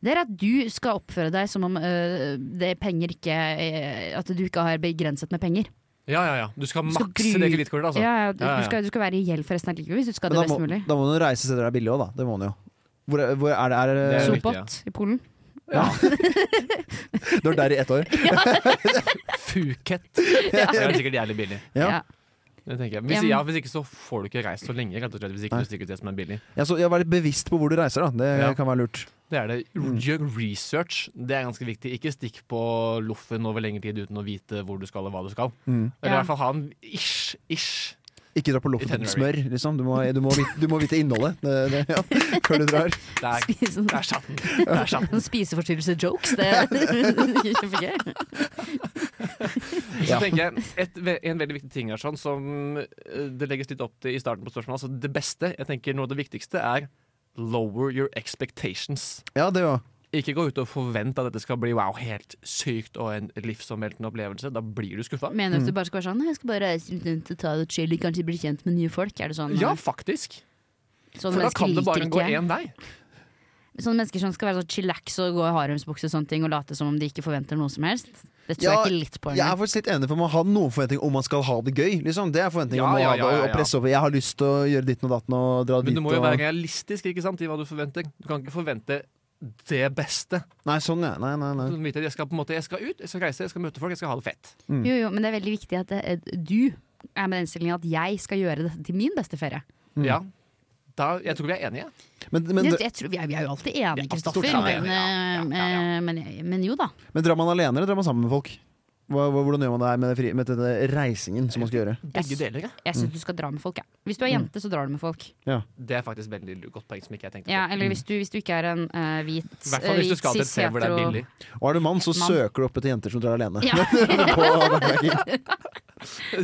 [SPEAKER 3] det er at du skal oppføre deg som om eh, det er penger ikke eh, At du ikke har begrenset med penger.
[SPEAKER 2] Ja, ja, ja. Du skal makse
[SPEAKER 3] skal gru-
[SPEAKER 2] det kredittkortet, altså.
[SPEAKER 3] ja, ja, du,
[SPEAKER 2] Ja, ja.
[SPEAKER 3] Du, skal, du skal være i gjeld for resten av livet hvis du skal
[SPEAKER 4] Men
[SPEAKER 3] ha
[SPEAKER 4] da
[SPEAKER 3] det best
[SPEAKER 4] må,
[SPEAKER 3] mulig.
[SPEAKER 4] da må man reise steder det er billig òg, da. Det må man jo. Hvor, er- hvor er det er,
[SPEAKER 2] Det er jo-
[SPEAKER 3] Sopot i Polen.
[SPEAKER 4] Du har vært der i ett år.
[SPEAKER 2] Fuket. Det er sikkert jævlig billig.
[SPEAKER 4] Ja.
[SPEAKER 3] Ja.
[SPEAKER 2] Det tenker jeg. Hvis,
[SPEAKER 3] Ja, men-
[SPEAKER 2] ja, hvis ikke så får du ikke reist så lenge, rett og slett. Hvis ikke
[SPEAKER 4] Nei.
[SPEAKER 2] du stikker ut det som er billig.
[SPEAKER 4] Ja, så, ja, Vær litt bevisst på hvor du reiser, da. Det
[SPEAKER 2] Ja.
[SPEAKER 4] kan være lurt.
[SPEAKER 2] Det er det. Gjør research. Det er ganske viktig. Ikke stikk på loffen over lengre tid uten å vite hvor du skal og hva du skal.
[SPEAKER 4] Mm.
[SPEAKER 2] Eller i
[SPEAKER 3] Ja.
[SPEAKER 2] hvert fall ha en ish, ish.
[SPEAKER 4] Ikke dra på loffen
[SPEAKER 2] Itinerary.
[SPEAKER 4] med smør, liksom. Du må, du må, vite, du må vite innholdet det, det, ja, før du drar.
[SPEAKER 2] Det er,
[SPEAKER 3] Sånn,
[SPEAKER 2] det er chatten. Det er chatten.
[SPEAKER 3] sånn spiseforstyrrelse-jokes. Det er kjempegøy.
[SPEAKER 2] Så
[SPEAKER 4] Ja.
[SPEAKER 2] tenker jeg et, ve- En veldig viktig ting her, sånn, som eh, det legges litt opp til i starten på spørsmålet altså Det beste, jeg tenker noe av det viktigste, er lower your expectations.
[SPEAKER 4] Ja, det òg.
[SPEAKER 2] Ikke gå ut og forvente at dette skal bli wow, helt sykt og en livsomveltende opplevelse. Da blir du skuffa.
[SPEAKER 3] Mener du at du bare skal være sånn «Nei, Jeg skal bare reise rundt og ta det chill, kanskje bli kjent med nye folk? Er det sånn?
[SPEAKER 2] Ja, faktisk.
[SPEAKER 3] sånne
[SPEAKER 2] For da
[SPEAKER 3] mennesker
[SPEAKER 2] kan det
[SPEAKER 3] Sånn liker
[SPEAKER 2] bare gå
[SPEAKER 3] ikke jeg.
[SPEAKER 2] én vei.
[SPEAKER 3] Sånne mennesker som skal være sånn chillax og gå i haremsbukse og sånne ting og late som om de ikke forventer noe som helst. Det tror
[SPEAKER 4] Ja,
[SPEAKER 3] jeg ikke litt på.
[SPEAKER 4] Jeg er
[SPEAKER 3] engang.
[SPEAKER 4] faktisk litt enig for man har noen forventninger om man skal ha det gøy. Liksom. Det er forventninger
[SPEAKER 2] Ja,
[SPEAKER 4] om å
[SPEAKER 2] ja,
[SPEAKER 4] ha
[SPEAKER 2] ja,
[SPEAKER 4] det,
[SPEAKER 2] ja,
[SPEAKER 4] og presse over. Jeg har lyst til å gjøre ditten og datten og dra
[SPEAKER 2] Men
[SPEAKER 4] dit.
[SPEAKER 2] du må jo
[SPEAKER 4] og...
[SPEAKER 2] være realistisk ikke sant, i hva du forventer. Du kan ikke forvente det beste.
[SPEAKER 4] Nei, sånn, ja. Nei, nei, nei.
[SPEAKER 2] Du må vite at jeg skal, på en måte, jeg skal ut, jeg skal reise, jeg skal møte folk, jeg skal ha det fett.
[SPEAKER 3] Jo, jo, men det er veldig viktig at eh, du er med den innstillingen at jeg skal gjøre dette til min beste ferie.
[SPEAKER 2] Ja. Da, jeg tror vi er enige.
[SPEAKER 4] Men, men,
[SPEAKER 3] jeg, jeg tror, vi, er, vi er jo alltid enige,
[SPEAKER 2] alltid
[SPEAKER 3] Kristoffer.
[SPEAKER 2] stort enige,
[SPEAKER 3] men,
[SPEAKER 2] ja, ja, ja, ja.
[SPEAKER 3] eh, men, men jo da.
[SPEAKER 4] men drar man alene, eller drar man sammen med folk? Hva, hva, hvordan gjør man det her med, det fri, med denne reisingen som man skal gjøre?
[SPEAKER 2] Begge
[SPEAKER 3] Jeg,
[SPEAKER 2] deler. ja.
[SPEAKER 3] jeg syns du skal dra med folk. Ja. Hvis du er jente, så drar du med folk.
[SPEAKER 2] Det er faktisk veldig godt poeng som ikke jeg tenkte på.
[SPEAKER 3] Ja, eller hvis du, hvis du ikke er en eh, hvit, eh,
[SPEAKER 2] I hvert fall hvis
[SPEAKER 3] hvit,
[SPEAKER 2] du skal til et
[SPEAKER 3] cis,
[SPEAKER 2] sted hvor det er
[SPEAKER 3] hetero-
[SPEAKER 2] billig.
[SPEAKER 4] Og er du mann, så
[SPEAKER 3] Mann.
[SPEAKER 4] søker du opp etter jenter som drar alene.
[SPEAKER 3] Ja.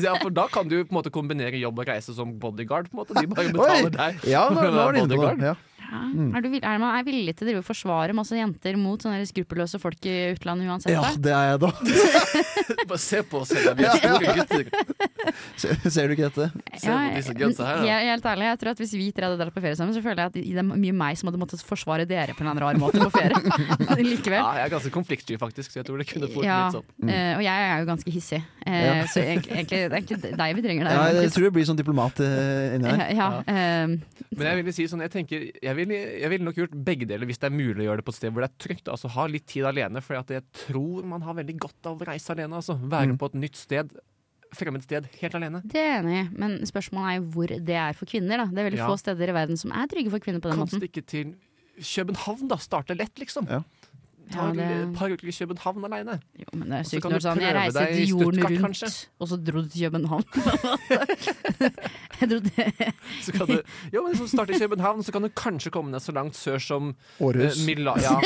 [SPEAKER 2] Ja, for da kan du på en måte kombinere jobb og reise som bodyguard. på en måte De bare betaler
[SPEAKER 4] Oi!
[SPEAKER 2] deg.
[SPEAKER 4] Ja, nå, nå er du inne på
[SPEAKER 2] Bodyguard.
[SPEAKER 4] noe. Ja.
[SPEAKER 3] Ja. Er, du, vil- er man er villig til å drive og forsvare masse jenter mot sånne her skruppelløse folk i utlandet uansett?
[SPEAKER 4] ja,
[SPEAKER 3] da?
[SPEAKER 4] det er jeg da.
[SPEAKER 2] Bare se på oss, Helga. Vi er store gutter.
[SPEAKER 4] Se- Ser du ikke dette?
[SPEAKER 2] Se på disse gutta her. da.
[SPEAKER 3] helt, helt ærlig, jeg tror at Hvis vi tre hadde dratt på ferie sammen, Så føler jeg at det er mye meg som hadde måttet forsvare dere på en eller annen rar måte på ferie.
[SPEAKER 2] Ja,
[SPEAKER 3] Likevel.
[SPEAKER 2] jeg er ganske konfliktsky, faktisk, så jeg tror det kunne fort
[SPEAKER 3] Ja,
[SPEAKER 2] litt sånn.
[SPEAKER 3] eh, og jeg er jo ganske hissig, eh, så egentlig, egentlig, det er egentlig deg vi trenger der.
[SPEAKER 4] Ja, jeg
[SPEAKER 3] Markus.
[SPEAKER 4] tror det blir sånn diplomat eh, inni her.
[SPEAKER 3] ja, ja, eh,
[SPEAKER 2] Men jeg ville si sånn, jeg tenker Jeg ville jeg ville nok gjort begge deler hvis det er mulig å gjøre det på et sted hvor det er trygt. Altså Ha litt tid alene, for at jeg tror man har veldig godt av å reise alene. Altså. Være på et nytt sted, fremmed sted, helt alene.
[SPEAKER 3] det er jeg enig i, men spørsmålet er jo hvor det er for kvinner. Da. Det er veldig
[SPEAKER 2] Ja.
[SPEAKER 3] få steder i verden som er trygge for kvinner på den
[SPEAKER 2] Kan
[SPEAKER 3] måten.
[SPEAKER 2] stikke til København, da. Starte lett, liksom.
[SPEAKER 4] Ja.
[SPEAKER 2] Ta
[SPEAKER 3] Ja,
[SPEAKER 2] en-
[SPEAKER 3] det-
[SPEAKER 2] et par uker i København aleine.
[SPEAKER 3] Jo, men det er
[SPEAKER 2] så
[SPEAKER 3] sykt
[SPEAKER 2] kan
[SPEAKER 3] når
[SPEAKER 2] du
[SPEAKER 3] sånn, jeg
[SPEAKER 2] prøve
[SPEAKER 3] reiste
[SPEAKER 2] deg i
[SPEAKER 3] til jorden
[SPEAKER 2] Stuttgart,
[SPEAKER 3] rundt,
[SPEAKER 2] kanskje.
[SPEAKER 3] og så dro du til København. jeg dro til,
[SPEAKER 2] Så kan du jo, men så starte i København, så kan du kanskje komme deg så langt sør som eh,
[SPEAKER 4] Århus.
[SPEAKER 2] Mila ja.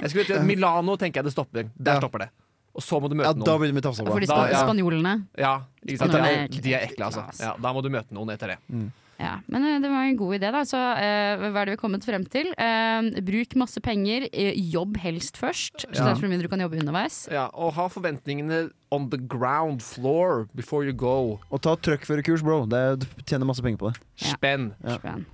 [SPEAKER 2] jeg skulle til Milano, tenker jeg det stopper. Der
[SPEAKER 4] Ja.
[SPEAKER 2] stopper det. Og så må du møte
[SPEAKER 4] Ja, da
[SPEAKER 2] noen.
[SPEAKER 4] blir det mye tafsa på.
[SPEAKER 3] for de
[SPEAKER 2] Da,
[SPEAKER 3] span
[SPEAKER 2] ja.
[SPEAKER 3] spanjolene.
[SPEAKER 2] Ja, ikke sant?
[SPEAKER 3] Da
[SPEAKER 2] De
[SPEAKER 3] er
[SPEAKER 2] er,
[SPEAKER 3] det-
[SPEAKER 2] de er ekle, altså. Ja, da må du møte noen etter det.
[SPEAKER 3] Ja, men eh, det var en god idé, da. Så eh, hva er det vi har kommet frem til? Eh, bruk masse penger, eh, jobb helst først, så det
[SPEAKER 4] Ja.
[SPEAKER 3] er så mye du kan jobbe underveis.
[SPEAKER 2] Ja, og ha forventningene on the ground floor before you go.
[SPEAKER 4] Og ta trøkkførerkurs, bro. Det er, du tjener masse penger på det.
[SPEAKER 3] Ja.
[SPEAKER 2] Spenn.
[SPEAKER 4] Ja.
[SPEAKER 3] Spenn.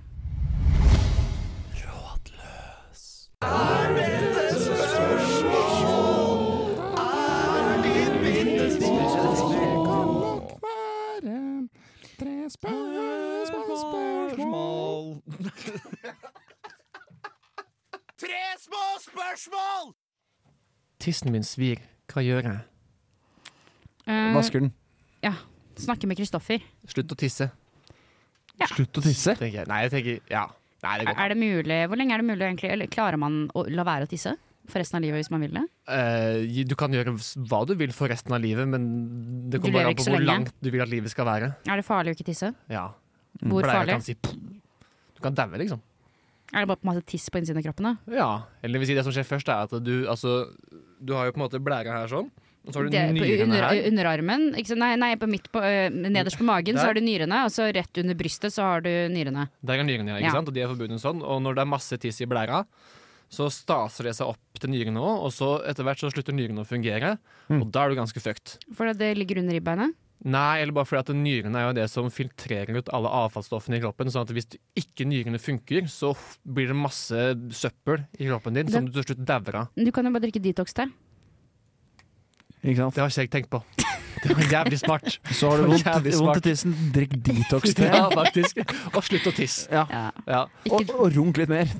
[SPEAKER 2] Tre små spørsmål! Tissen min svir. Hva gjør jeg?
[SPEAKER 3] Eh,
[SPEAKER 4] Vasker den.
[SPEAKER 3] snakke med Kristoffer.
[SPEAKER 2] Slutt å tisse.
[SPEAKER 3] Ja.
[SPEAKER 4] Slutt å tisse.
[SPEAKER 2] Tenker jeg. Nei, jeg tenker Ja. Nei, det går ikke.
[SPEAKER 3] Er det mulig, hvor lenge er det mulig egentlig? Eller klarer man å la være å tisse for resten av livet hvis man vil det?
[SPEAKER 2] Eh, du kan gjøre hva du vil for resten av livet, men det
[SPEAKER 3] Du
[SPEAKER 2] kommer
[SPEAKER 3] lever
[SPEAKER 2] bare an
[SPEAKER 3] ikke
[SPEAKER 2] på
[SPEAKER 3] så
[SPEAKER 2] hvor
[SPEAKER 3] lenge.
[SPEAKER 2] langt du vil at livet skal være.
[SPEAKER 3] Er det farlig å ikke tisse?
[SPEAKER 2] Ja.
[SPEAKER 3] Hvor
[SPEAKER 2] Bleier
[SPEAKER 3] farlig?
[SPEAKER 2] Kan si, «Pff». du kan daue, liksom.
[SPEAKER 3] Er det bare på masse tiss på innsiden av kroppen? da?
[SPEAKER 2] Ja. Eller det vil si, det som skjer først, er at du altså Du har jo på en måte blæra her sånn, og så har du
[SPEAKER 3] Det- på
[SPEAKER 2] nyrene
[SPEAKER 3] under,
[SPEAKER 2] her.
[SPEAKER 3] Underarmen? Ikke sant? Nei, nei på midt på, ø, nederst på magen
[SPEAKER 2] Der.
[SPEAKER 3] så har du nyrene, og så rett under brystet så har du nyrene.
[SPEAKER 2] Der er nyrene, ja, ikke
[SPEAKER 3] Ja.
[SPEAKER 2] sant? Og de er forbundet sånn. Og når det er masse tiss i blæra, Så staser det seg opp til nyrene òg, og så etter hvert så slutter nyrene å fungere. Og da er du ganske fucked.
[SPEAKER 3] For det ligger under ribbeinet.
[SPEAKER 2] Nei, eller bare fordi at nyrene er jo det som filtrerer ut alle avfallsstoffene i kroppen. sånn at hvis ikke nyrene funker, så blir det masse søppel i kroppen din som du til slutt dauer av.
[SPEAKER 3] Men Du kan jo bare drikke detox der.
[SPEAKER 4] Ikke sant?
[SPEAKER 2] Det har ikke jeg tenkt på. Det var jævlig smart.
[SPEAKER 4] Så har du vondt,
[SPEAKER 2] Jævlig smart.
[SPEAKER 4] vondt i tissen, drikk detox te.
[SPEAKER 2] Ja, faktisk. Og slutt å tisse.
[SPEAKER 4] Ja.
[SPEAKER 3] Ja.
[SPEAKER 2] Ja.
[SPEAKER 4] Og,
[SPEAKER 3] Ikke
[SPEAKER 4] og runk litt mer. Det,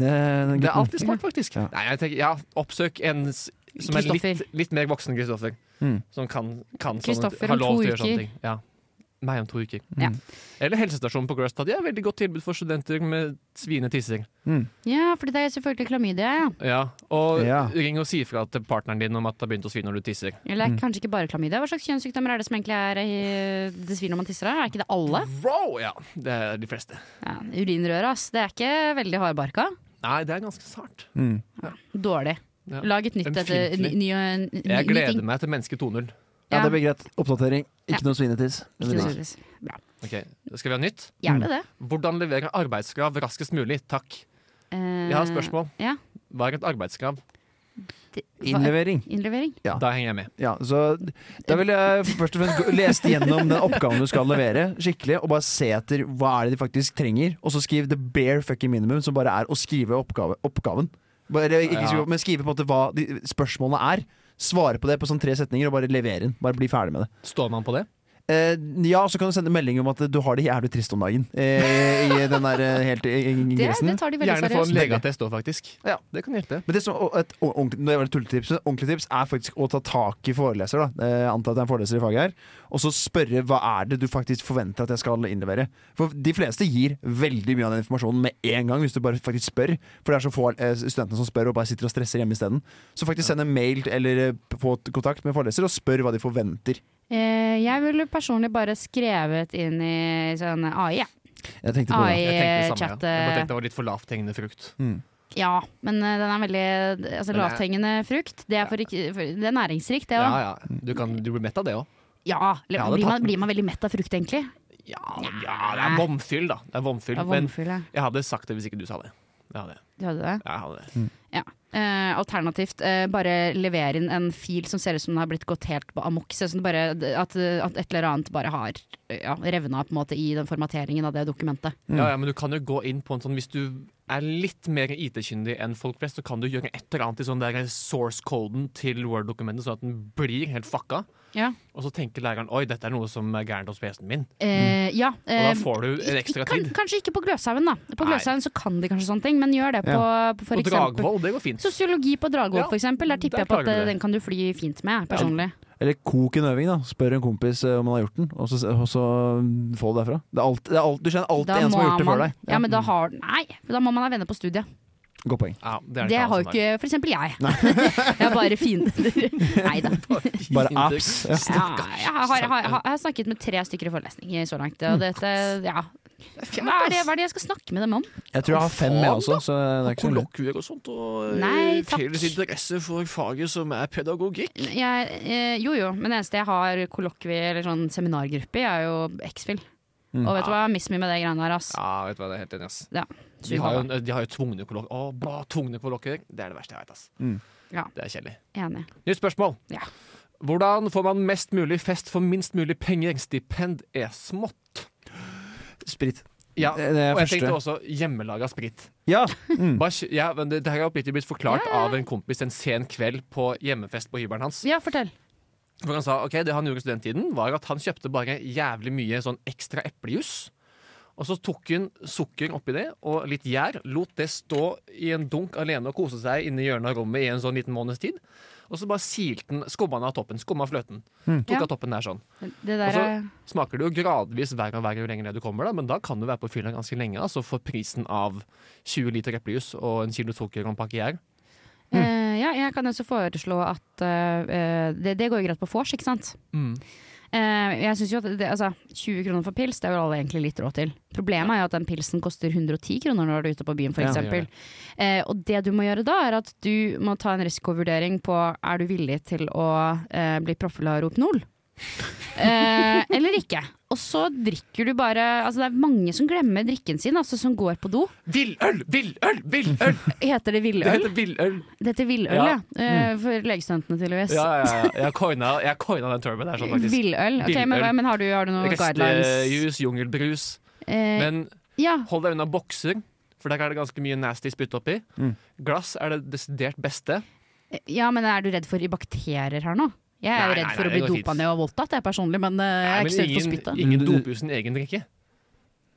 [SPEAKER 2] Det
[SPEAKER 4] den
[SPEAKER 2] er
[SPEAKER 4] gutten.
[SPEAKER 2] alltid smart, faktisk.
[SPEAKER 4] Ja.
[SPEAKER 2] Nei, jeg tenker, ja, oppsøk en s- som er litt,
[SPEAKER 3] Kristoffer.
[SPEAKER 2] litt mer voksen Kristoffer.
[SPEAKER 4] Mm.
[SPEAKER 2] Som kan, kan
[SPEAKER 3] Kristoffer
[SPEAKER 2] sånne,
[SPEAKER 3] om
[SPEAKER 2] har lov
[SPEAKER 3] to
[SPEAKER 2] til å gjøre sånne
[SPEAKER 3] uker.
[SPEAKER 2] ting. Ja. Meg om to uker.
[SPEAKER 3] Ja.
[SPEAKER 2] Eller helsestasjonen på Grøstad. De har veldig godt tilbud for studenter med sviende tisser.
[SPEAKER 4] Mm.
[SPEAKER 3] Ja, for det er selvfølgelig klamydia, ja.
[SPEAKER 2] Ja. Og
[SPEAKER 4] Ja.
[SPEAKER 2] ring og si fra til partneren din om at det har begynt å svine når du tisser.
[SPEAKER 3] Eller kanskje ikke bare klamydia. Hva slags kjønnssykdommer er det som egentlig er eh, det svir når man tisser av? Er ikke det alle?
[SPEAKER 2] Wow! Ja, det er de fleste.
[SPEAKER 3] Ja, urinrøret, ass. Det er ikke veldig hardbarka.
[SPEAKER 2] Nei, det er ganske sart.
[SPEAKER 4] Mm.
[SPEAKER 3] Dårlig.
[SPEAKER 2] Ja.
[SPEAKER 3] Lag et nytt etter ny,
[SPEAKER 2] Ømfintlig.
[SPEAKER 3] ny, ny, ny,
[SPEAKER 2] Jeg
[SPEAKER 3] ny
[SPEAKER 2] gleder
[SPEAKER 3] ting.
[SPEAKER 2] meg til Menneske 2.0.
[SPEAKER 4] Ja,
[SPEAKER 3] Ja.
[SPEAKER 4] det blir greit. Oppdatering. Ikke noe svinetiss. Det
[SPEAKER 3] Ikke
[SPEAKER 4] blir
[SPEAKER 3] noe
[SPEAKER 4] greit.
[SPEAKER 3] surprise. Bra.
[SPEAKER 2] Ok, Skal vi ha nytt?
[SPEAKER 3] Gjerne det.
[SPEAKER 2] Hvordan levere arbeidskrav raskest mulig? Takk.
[SPEAKER 3] Eh,
[SPEAKER 2] Mm. Jeg har et spørsmål.
[SPEAKER 3] Ja.
[SPEAKER 2] Hva er et arbeidskrav?
[SPEAKER 3] Det- Eh, hva-
[SPEAKER 4] Innlevering.
[SPEAKER 3] Innlevering.
[SPEAKER 4] Ja.
[SPEAKER 2] Da henger jeg med.
[SPEAKER 4] Ja, så Da vil jeg først og fremst gå- lese gjennom den oppgaven du skal levere, skikkelig, og bare se etter hva er det de faktisk trenger. Og så skriv the bare fucking minimum, som bare er å skrive oppgave, oppgaven. Bare, ikke
[SPEAKER 2] Ja.
[SPEAKER 4] skrive, opp, men skrive på en måte hva de, spørsmålene er. Svare på det på sånn tre setninger, og bare levere den. Bare bli ferdig med det.
[SPEAKER 2] Står man på det?
[SPEAKER 4] Eh, ja, så kan du sende melding om at du har det jævlig trist om dagen. Eh, I den der eh, helt i- i-
[SPEAKER 3] Det,
[SPEAKER 4] ingressen.
[SPEAKER 3] det tar de veldig
[SPEAKER 2] Gjerne få en
[SPEAKER 3] seriøst.
[SPEAKER 2] legeattest òg, faktisk.
[SPEAKER 4] Ja.
[SPEAKER 2] Det kan hjelpe.
[SPEAKER 4] Men det som, og et ordentlig, nå var det tulletips, men et ordentlig tips er faktisk å ta tak i foreleser. Da. Eh, anta at det er en foreleser i faget her. Og så spørre hva er det du faktisk forventer at jeg skal innlevere. For de fleste gir veldig mye av den informasjonen med en gang, hvis du bare faktisk spør. For det er så få eh, studentene som spør og bare sitter og stresser hjemme isteden. Så faktisk send en mail eller eh, få et kontakt med foreleser og spør hva de forventer.
[SPEAKER 3] Eh, jeg ville personlig bare skrevet inn i sånn AI. Ja.
[SPEAKER 4] Jeg tenkte på
[SPEAKER 3] AI.
[SPEAKER 4] det.
[SPEAKER 2] Jeg tenkte det samme.
[SPEAKER 3] Chat,
[SPEAKER 2] Ja. Jeg bare
[SPEAKER 3] eh,
[SPEAKER 2] tenkte det var litt for lavthengende frukt.
[SPEAKER 3] ja men eh, den er veldig altså,
[SPEAKER 2] Men det er-
[SPEAKER 3] Lavthengende frukt. Det er, for, ikke- for, det er næringsrikt, det
[SPEAKER 2] Ja,
[SPEAKER 3] òg.
[SPEAKER 2] ja. Du, kan, du blir mett av det òg.
[SPEAKER 3] Ja, eller
[SPEAKER 2] Jeg hadde
[SPEAKER 3] blir,
[SPEAKER 2] tatt
[SPEAKER 3] man,
[SPEAKER 2] den.
[SPEAKER 3] blir man veldig mett av frukt, egentlig?
[SPEAKER 2] Ja, ja, det er vomfyll, da. Det er vomfyll.
[SPEAKER 3] Av
[SPEAKER 2] Men
[SPEAKER 3] vannfugl, ja.
[SPEAKER 2] jeg hadde sagt det hvis ikke du sa det. Jeg hadde, det.
[SPEAKER 3] Du hadde det?
[SPEAKER 2] jeg hadde. det.
[SPEAKER 3] Ja. Eh, alternativt, eh, bare levere inn en fil som ser ut som den har blitt gått helt på amok. Ser ut som det bare, at, at et eller annet bare har ja, revna på en måte i den formateringen av det dokumentet.
[SPEAKER 2] Ja, ja, men du kan jo gå inn på en sånn Hvis du er litt mer IT-kyndig enn folk flest, så kan du gjøre et eller annet i sånn der source-koden til Word-dokumentet, sånn at den blir helt fucka.
[SPEAKER 3] Ja.
[SPEAKER 2] Og så tenker læreren oi, dette er noe som er gærent hos PC-en min.
[SPEAKER 3] Eh, ja
[SPEAKER 2] Og da
[SPEAKER 3] eh,
[SPEAKER 2] får du en ekstra
[SPEAKER 3] kan,
[SPEAKER 2] tid.
[SPEAKER 3] kanskje ikke på Gløshaugen, da. På
[SPEAKER 2] Nei.
[SPEAKER 3] Gløshaugen så kan de kanskje sånne ting, men gjør det på, på for
[SPEAKER 2] Og
[SPEAKER 3] eksempel
[SPEAKER 2] Dragvoll, det går fint.
[SPEAKER 3] Sosiologi på Dragvoll,
[SPEAKER 2] Ja,
[SPEAKER 3] for eksempel. Der tipper
[SPEAKER 2] der
[SPEAKER 3] jeg på
[SPEAKER 2] klarer du
[SPEAKER 3] at eh,
[SPEAKER 2] det.
[SPEAKER 3] den kan du fly fint med, personlig.
[SPEAKER 4] Eller kok en øving, da. Spør en kompis eh, om han har gjort den, og så, og så mm, få det derfra. Det er alt, det er alt, du kjenner alltid en som har gjort det før
[SPEAKER 3] man
[SPEAKER 4] deg. Mm.
[SPEAKER 3] Ja, men da har Nei, da må man ha venner på studiet.
[SPEAKER 4] Godt poeng.
[SPEAKER 2] Ja, det er
[SPEAKER 3] Det
[SPEAKER 2] ikke alle som
[SPEAKER 3] har jo ikke for eksempel jeg. jeg er bare fiender. Nei da.
[SPEAKER 4] Bare apps. Ja.
[SPEAKER 3] Ja, jeg, har, jeg, har, jeg har snakket med tre stykker i forelesning så langt.
[SPEAKER 2] Mm.
[SPEAKER 3] Og dette, ja. hva, er det, hva er det jeg skal snakke med dem om?
[SPEAKER 4] Jeg tror jeg har fem med også. Så det er ikke så lurt.
[SPEAKER 2] Kollokvier og sånt, og eh,
[SPEAKER 3] Nei, takk.
[SPEAKER 2] felles interesse for faget som er pedagogikk.
[SPEAKER 3] Jeg, eh, jo jo, men det eneste jeg har kollokvie eller sånn seminargruppe i, er jo X-Fil. Og vet du hva, miss me med det greiene der, ass.
[SPEAKER 2] Mm. Ja, vet du hva, det er helt enig, ass.
[SPEAKER 3] Ja.
[SPEAKER 2] De har jo, de har jo tvungne kollokvier. Å, bra, tvungne kollokvier. Det er det verste jeg vet, ass.
[SPEAKER 4] Mm.
[SPEAKER 3] Ja.
[SPEAKER 2] Det er kjedelig.
[SPEAKER 3] Enig.
[SPEAKER 2] Nytt spørsmål.
[SPEAKER 3] Ja.
[SPEAKER 2] Hvordan får man mest mulig fest for minst mulig penger? Stipend er smått. Eh,
[SPEAKER 4] Sprit.
[SPEAKER 2] Ja,
[SPEAKER 4] Det- det er
[SPEAKER 2] og jeg
[SPEAKER 4] første.
[SPEAKER 2] tenkte også hjemmelaga sprit.
[SPEAKER 4] Ja.
[SPEAKER 2] Bare kjø- ja, men det, det her har oppriktig blitt forklart av en kompis en sen kveld på hjemmefest på hybelen hans.
[SPEAKER 3] Ja, fortell.
[SPEAKER 2] For han sa ok, det han gjorde i studenttiden, var at han kjøpte bare jævlig mye sånn ekstra eplejus. Og så tok hun sukker oppi det og litt gjær, lot det stå i en dunk alene og kose seg inne i hjørnet av rommet i en sånn liten måneds tid. Og så bare silte den, skumma den av toppen, skumma fløten. Tok
[SPEAKER 3] Ja.
[SPEAKER 2] av toppen der sånn.
[SPEAKER 3] Det der
[SPEAKER 2] Og så
[SPEAKER 3] er
[SPEAKER 2] smaker det jo gradvis verre og verre jo lenger ned du kommer, da, men da kan du være på fylla ganske lenge. Altså for prisen av 20 liter eplejus og en kilo sukker og en pakke gjær. mm.
[SPEAKER 3] Eh, ja, jeg kan også foreslå at eh, det, det går jo greit på vors, ikke sant?
[SPEAKER 2] Mm.
[SPEAKER 3] Eh, jeg synes jo at det, altså, 20 kroner for pils, det er jo alle egentlig litt råd til. Problemet er jo at den pilsen koster 110 kroner når du er ute på byen, for
[SPEAKER 2] Ja, det
[SPEAKER 3] eksempel.
[SPEAKER 2] gjør det.
[SPEAKER 3] Eh, og det du må gjøre da, er at du må ta en risikovurdering på er du villig til å eh, bli profil av Rohypnol? Eh, eller ikke. Og så drikker du bare Altså det er mange som glemmer drikken sin, altså som går på do.
[SPEAKER 2] Villøl, villøl, villøl!
[SPEAKER 3] Heter
[SPEAKER 2] Det
[SPEAKER 3] det villøl?
[SPEAKER 2] heter villøl.
[SPEAKER 3] Det heter villøl, ja.
[SPEAKER 2] Ja. Mm.
[SPEAKER 3] Eh, For legestudentene, tydeligvis.
[SPEAKER 2] Ja, ja, ja. Jeg coina, jeg coina den termen. Der, sånn, faktisk.
[SPEAKER 3] Villøl. Ok, men,
[SPEAKER 2] Villøl.
[SPEAKER 3] men har du, har du noen guidelines?
[SPEAKER 2] Restejus, jungelbrus.
[SPEAKER 3] Eh,
[SPEAKER 2] Men
[SPEAKER 3] ja.
[SPEAKER 2] hold deg unna bokser, for der er det ganske mye nasty spytt oppi.
[SPEAKER 4] Mm.
[SPEAKER 2] Glass er det desidert beste.
[SPEAKER 3] ja, men er du redd for i bakterier her nå? Jeg er
[SPEAKER 2] Nei,
[SPEAKER 3] jo
[SPEAKER 2] nei,
[SPEAKER 3] redd
[SPEAKER 2] nei,
[SPEAKER 3] for å
[SPEAKER 2] det
[SPEAKER 3] bli
[SPEAKER 2] går fint.
[SPEAKER 3] dopa ned og voldtatt, jeg personlig, men eh, jeg er
[SPEAKER 2] Men
[SPEAKER 3] ikke så redd for
[SPEAKER 2] ingen,
[SPEAKER 3] spyttet.
[SPEAKER 2] ingen doper jo sin egen drikke.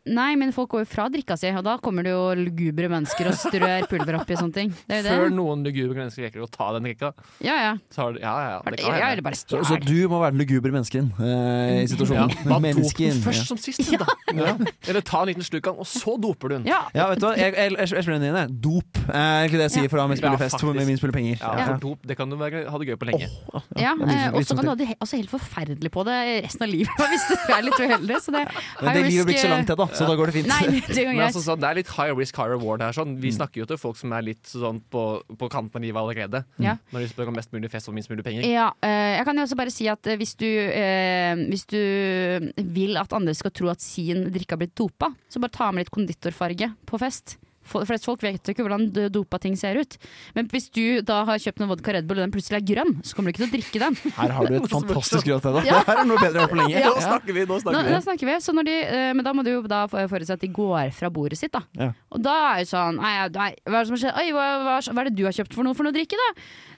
[SPEAKER 3] Nei, men folk går jo fra drikka si, og da kommer det jo lugubre mennesker og strør pulver oppi og sånne ting. Det er jo
[SPEAKER 2] Før
[SPEAKER 3] det.
[SPEAKER 2] noen lugubre mennesker rekker å ta den drikka.
[SPEAKER 3] Ja, ja.
[SPEAKER 2] Så har du, ja, ja, ja,
[SPEAKER 3] Har
[SPEAKER 2] det
[SPEAKER 3] det,
[SPEAKER 2] kan
[SPEAKER 3] ja, eller
[SPEAKER 2] hende.
[SPEAKER 3] bare
[SPEAKER 4] Så,
[SPEAKER 3] stjel.
[SPEAKER 4] så du må være den lugubre mennesken eh, i
[SPEAKER 2] Ja,
[SPEAKER 4] situasjonen.
[SPEAKER 2] bare dop den
[SPEAKER 4] Mennesken, ja.
[SPEAKER 2] først som sist, da. Ja. Eller ta en liten slurk av den, og så doper du den.
[SPEAKER 3] Ja,
[SPEAKER 4] Ja, vet du hva? Jeg, jeg, jeg, jeg spiller den inn, jeg. Dop eh, er ikke det jeg sier for å ha min
[SPEAKER 2] Ja,
[SPEAKER 4] spillefest
[SPEAKER 2] faktisk.
[SPEAKER 4] for min spillepenger.
[SPEAKER 2] Ja,
[SPEAKER 4] Ja.
[SPEAKER 2] for dop, det kan du være, ha det gøy på lenge.
[SPEAKER 3] ja.
[SPEAKER 4] det er litt-
[SPEAKER 3] eh, Og så
[SPEAKER 4] litt sånn
[SPEAKER 3] kan du ha det he- altså, helt forferdelig på det resten av livet hvis du er litt uheldig. Så det
[SPEAKER 4] Men det
[SPEAKER 3] high
[SPEAKER 4] livet blir
[SPEAKER 3] risk, eh,
[SPEAKER 4] ikke så langt, jeg, da, så da går det fint.
[SPEAKER 3] Nei, det går
[SPEAKER 2] Men altså,
[SPEAKER 3] greit.
[SPEAKER 2] sånn, det er litt high risk, high reward her. Sånn. Vi snakker jo til folk som er litt sånn på, på kanten av livet allerede. Mm.
[SPEAKER 3] Ja.
[SPEAKER 2] Når de spør om mest mulig fest og minst mulig penger.
[SPEAKER 3] Ja, eh, jeg kan jo også bare si at eh, hvis du, eh, hvis du vil at andre skal tro at sin drikke har blitt dopa, så bare ta med litt konditorfarge på fest. For flest folk vet jo ikke hvordan d- dopa ting ser ut. Men hvis du da har kjøpt en vodka Red Bull og den plutselig er grønn, så kommer du ikke til å drikke den.
[SPEAKER 4] Her har du et fantastisk råd til deg.
[SPEAKER 3] Ja.
[SPEAKER 4] Her er noe bedre jeg har hørt på lenge.
[SPEAKER 3] Ja.
[SPEAKER 2] Nå snakker vi! nå
[SPEAKER 3] Nå,
[SPEAKER 2] snakker
[SPEAKER 3] nå snakker vi, så når de, eh, Men da må du jo da for- forutse at de går fra bordet sitt. da
[SPEAKER 4] Ja.
[SPEAKER 3] Og da er jo sånn nei, nei, Hva er det som har skjedd? Oi, hva, hva, hva er det du har kjøpt for noe for noe å drikke, da?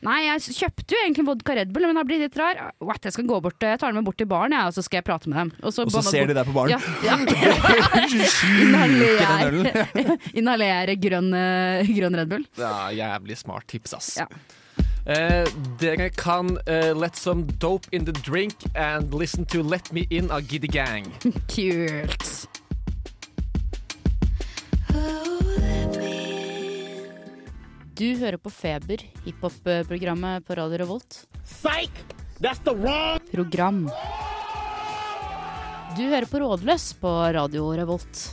[SPEAKER 3] Nei, jeg kjøpte jo egentlig vodka Red Bull, men har blitt litt rar. What, jeg skal gå bort, eh, jeg tar den med bort til baren, jeg, og så skal jeg prate med dem. Og så,
[SPEAKER 4] Og så ser de deg på
[SPEAKER 3] Ja,
[SPEAKER 4] baren.
[SPEAKER 3] ja. Inhalere, inhalere grønn, eh, grønn Red Bull.
[SPEAKER 2] vi. Ja, jævlig smart tips, ass.
[SPEAKER 3] Ja.
[SPEAKER 2] Eh, dere kan eh, let some dope in the drink and listen to Let Me In av Giddy Gang.
[SPEAKER 3] Kult. Du hører på Feber, hiphop-programmet på Radio Revolt. Program. Du hører på Rådløs på Radio Revolt.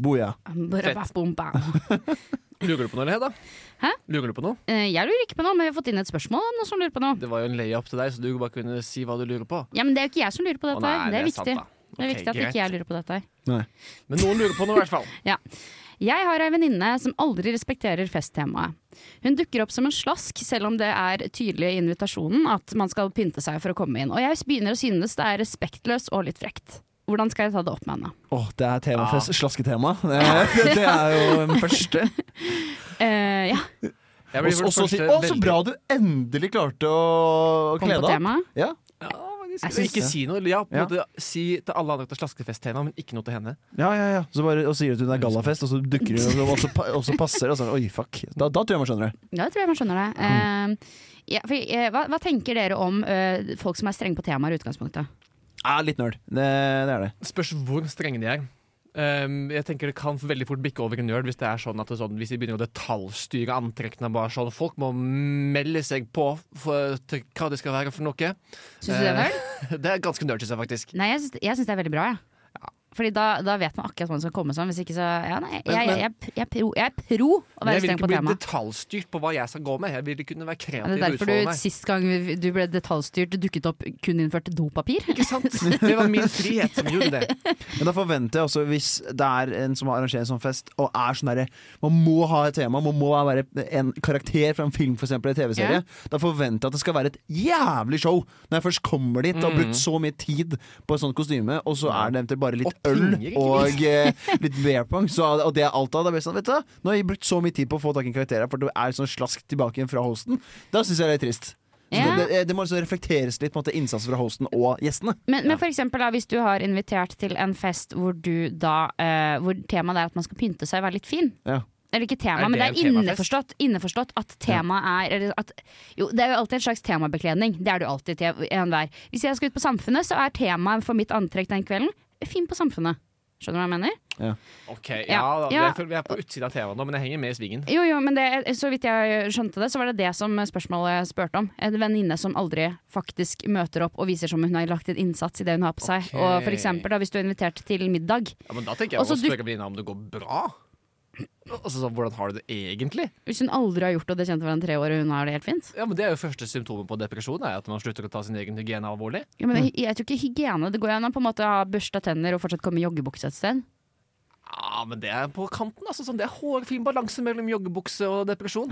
[SPEAKER 4] Boja.
[SPEAKER 3] Barababomba.
[SPEAKER 2] Lurer du på noe, eller, Hedda?
[SPEAKER 3] Hæ?
[SPEAKER 2] Lurer du på noe?
[SPEAKER 3] Eh, Jeg lurer ikke på noe, men vi har fått inn et spørsmål om noen som lurer på noe.
[SPEAKER 2] Det var jo en layup til deg, så du bare kunne si hva du lurer på.
[SPEAKER 3] Ja, men det er jo ikke jeg som lurer på
[SPEAKER 2] Å,
[SPEAKER 3] dette.
[SPEAKER 2] nei,
[SPEAKER 3] her. det, er
[SPEAKER 2] sant,
[SPEAKER 3] viktig.
[SPEAKER 2] da.
[SPEAKER 3] det er
[SPEAKER 2] Ok,
[SPEAKER 3] viktig at
[SPEAKER 2] greit.
[SPEAKER 3] ikke jeg lurer på dette. her.
[SPEAKER 2] Men noen lurer på noe, i hvert fall.
[SPEAKER 3] Jeg har ei venninne som aldri respekterer festtemaet. Hun dukker opp som en slask, selv om det er tydelig i invitasjonen at man skal pynte seg for å komme inn. Og jeg begynner å synes det er respektløst og litt frekt. Hvordan skal jeg ta det opp med henne?
[SPEAKER 4] Åh, det er temafest. Slasketema. Det, det er jo den første.
[SPEAKER 3] Eh, ja,
[SPEAKER 2] Jeg blir
[SPEAKER 4] Og
[SPEAKER 2] for det
[SPEAKER 4] så si
[SPEAKER 2] første
[SPEAKER 4] Å, så
[SPEAKER 2] veldig-
[SPEAKER 4] bra du endelig klarte å
[SPEAKER 3] kom
[SPEAKER 4] kle
[SPEAKER 3] på
[SPEAKER 4] deg opp.
[SPEAKER 3] temaet.
[SPEAKER 4] Ja.
[SPEAKER 3] Jeg
[SPEAKER 2] Så
[SPEAKER 3] synes-
[SPEAKER 2] ikke si noe. eller Ja, på en
[SPEAKER 4] Ja.
[SPEAKER 2] måte, si til alle andre at det er slaskefesttema, men ikke noe til henne.
[SPEAKER 4] Ja, ja, ja. Så bare, og sier at hun er gallafest, og så dukker hun, og så- og så, pa- og så passer det. Og så, oi, fuck. Da, da tror jeg man skjønner det.
[SPEAKER 3] Ja, jeg tror jeg man skjønner det.
[SPEAKER 2] Mm.
[SPEAKER 3] Eh, ja, for, eh, hva, hva tenker dere om eh, folk som er strenge på temaer i utgangspunktet?
[SPEAKER 4] Ja, litt nerd. Det, det er det.
[SPEAKER 2] Spørs hvor strenge de er. Ehm, jeg tenker Det kan veldig fort bikke over i nerd hvis det er sånn at det er sånn, Hvis de begynner å detaljstyre antrekkene. Bare sånn, folk må melde seg på for, til hva det skal være for noe.
[SPEAKER 3] Syns du det er
[SPEAKER 2] Eh.
[SPEAKER 3] vel?
[SPEAKER 2] Det er ganske nerd, syns jeg faktisk.
[SPEAKER 3] Nei, jeg syns, jeg syns det er veldig bra, jeg. Fordi da, da vet man akkurat hva man skal komme som. Hvis ikke så ja, nei, jeg,
[SPEAKER 2] Men-
[SPEAKER 3] jeg, jeg, jeg, er pro, jeg er pro å
[SPEAKER 2] Men
[SPEAKER 3] være
[SPEAKER 2] jeg vil
[SPEAKER 3] streng
[SPEAKER 2] ikke
[SPEAKER 3] på
[SPEAKER 2] bli
[SPEAKER 3] temaet.
[SPEAKER 2] detaljstyrt på hva jeg skal gå med. Jeg vil kunne være
[SPEAKER 3] Ja, Det
[SPEAKER 2] kreativ
[SPEAKER 3] er
[SPEAKER 2] og
[SPEAKER 3] derfor
[SPEAKER 2] utfolde
[SPEAKER 3] du
[SPEAKER 2] meg.
[SPEAKER 3] sist gang vi- du ble detaljstyrt, dukket opp kun innført dopapir.
[SPEAKER 2] Ikke sant? Det var min frihet som gjorde det.
[SPEAKER 4] Men da forventer jeg også, hvis det er en som har arrangert en sånn fest, og er sånn derre Man må ha et tema, man må være en karakter fra en film, f.eks., eller en TV-serie. Da forventer jeg at det skal være et jævlig show når jeg først kommer dit og har brukt så mye tid på et sånt kostyme, og så er det eventuelt bare litt
[SPEAKER 2] Mm. Og penger,
[SPEAKER 4] øl
[SPEAKER 2] ikke
[SPEAKER 4] og eh, litt beer pong, så, og det er alt av det. blir Sånn, vet du, hva? nå har jeg brukt så mye tid på å få tak i en karakter her, for det er sånn slask tilbake igjen fra hosten. Da syns jeg det er trist. Så
[SPEAKER 3] Ja.
[SPEAKER 4] det, det, det må liksom reflekteres litt på en måte innsatsen fra hosten og gjestene.
[SPEAKER 3] Men, men for eksempel, da, hvis du har invitert til en fest hvor, du da, eh, hvor temaet er at man skal pynte seg og være litt fin.
[SPEAKER 4] Ja.
[SPEAKER 3] Eller ikke
[SPEAKER 2] Er
[SPEAKER 3] tema, men det
[SPEAKER 2] det
[SPEAKER 3] er
[SPEAKER 2] en temafest?
[SPEAKER 3] innforstått, innforstått at temaet er eller at, Jo, det er jo alltid en slags temabekledning. Det er det jo alltid til enhver. Hvis jeg skal ut på Samfunnet, så er temaet for mitt antrekk den kvelden fin på Samfunnet. Skjønner du hva jeg mener?
[SPEAKER 2] Ok, ja,
[SPEAKER 3] Ja,
[SPEAKER 2] da,
[SPEAKER 3] ja.
[SPEAKER 2] Jeg føler vi er på utsida av TV-en nå, men jeg henger med i svingen.
[SPEAKER 3] Jo, jo, men det, så vidt jeg skjønte det, så var det det som spørsmålet spurte om. En venninne som aldri faktisk møter opp og viser som hun har lagt en innsats i det hun har på seg.
[SPEAKER 2] Ok.
[SPEAKER 3] Og for eksempel da, hvis du er invitert til middag,
[SPEAKER 4] Altså,
[SPEAKER 2] Ja, men da tenker jeg
[SPEAKER 3] Og så
[SPEAKER 2] å
[SPEAKER 3] du-
[SPEAKER 2] spørre venninna om det går bra. Altså, sånn, hvordan har du det egentlig?
[SPEAKER 3] Hvis hun aldri har gjort det, og det kjente hverandre i tre år, og hun har det helt fint.
[SPEAKER 2] Ja, men Det er jo første symptomet på depresjon, er at man slutter å ta sin egen hygiene alvorlig.
[SPEAKER 3] Ja, men
[SPEAKER 2] Mm.
[SPEAKER 3] jeg, jeg tror ikke hygiene Det går jo an å på en måte ha børsta tenner og fortsatt komme i joggebukse et sted.
[SPEAKER 2] Ja, men det er på kanten. altså sånn, Det er hårfin balanse mellom joggebukse og depresjon.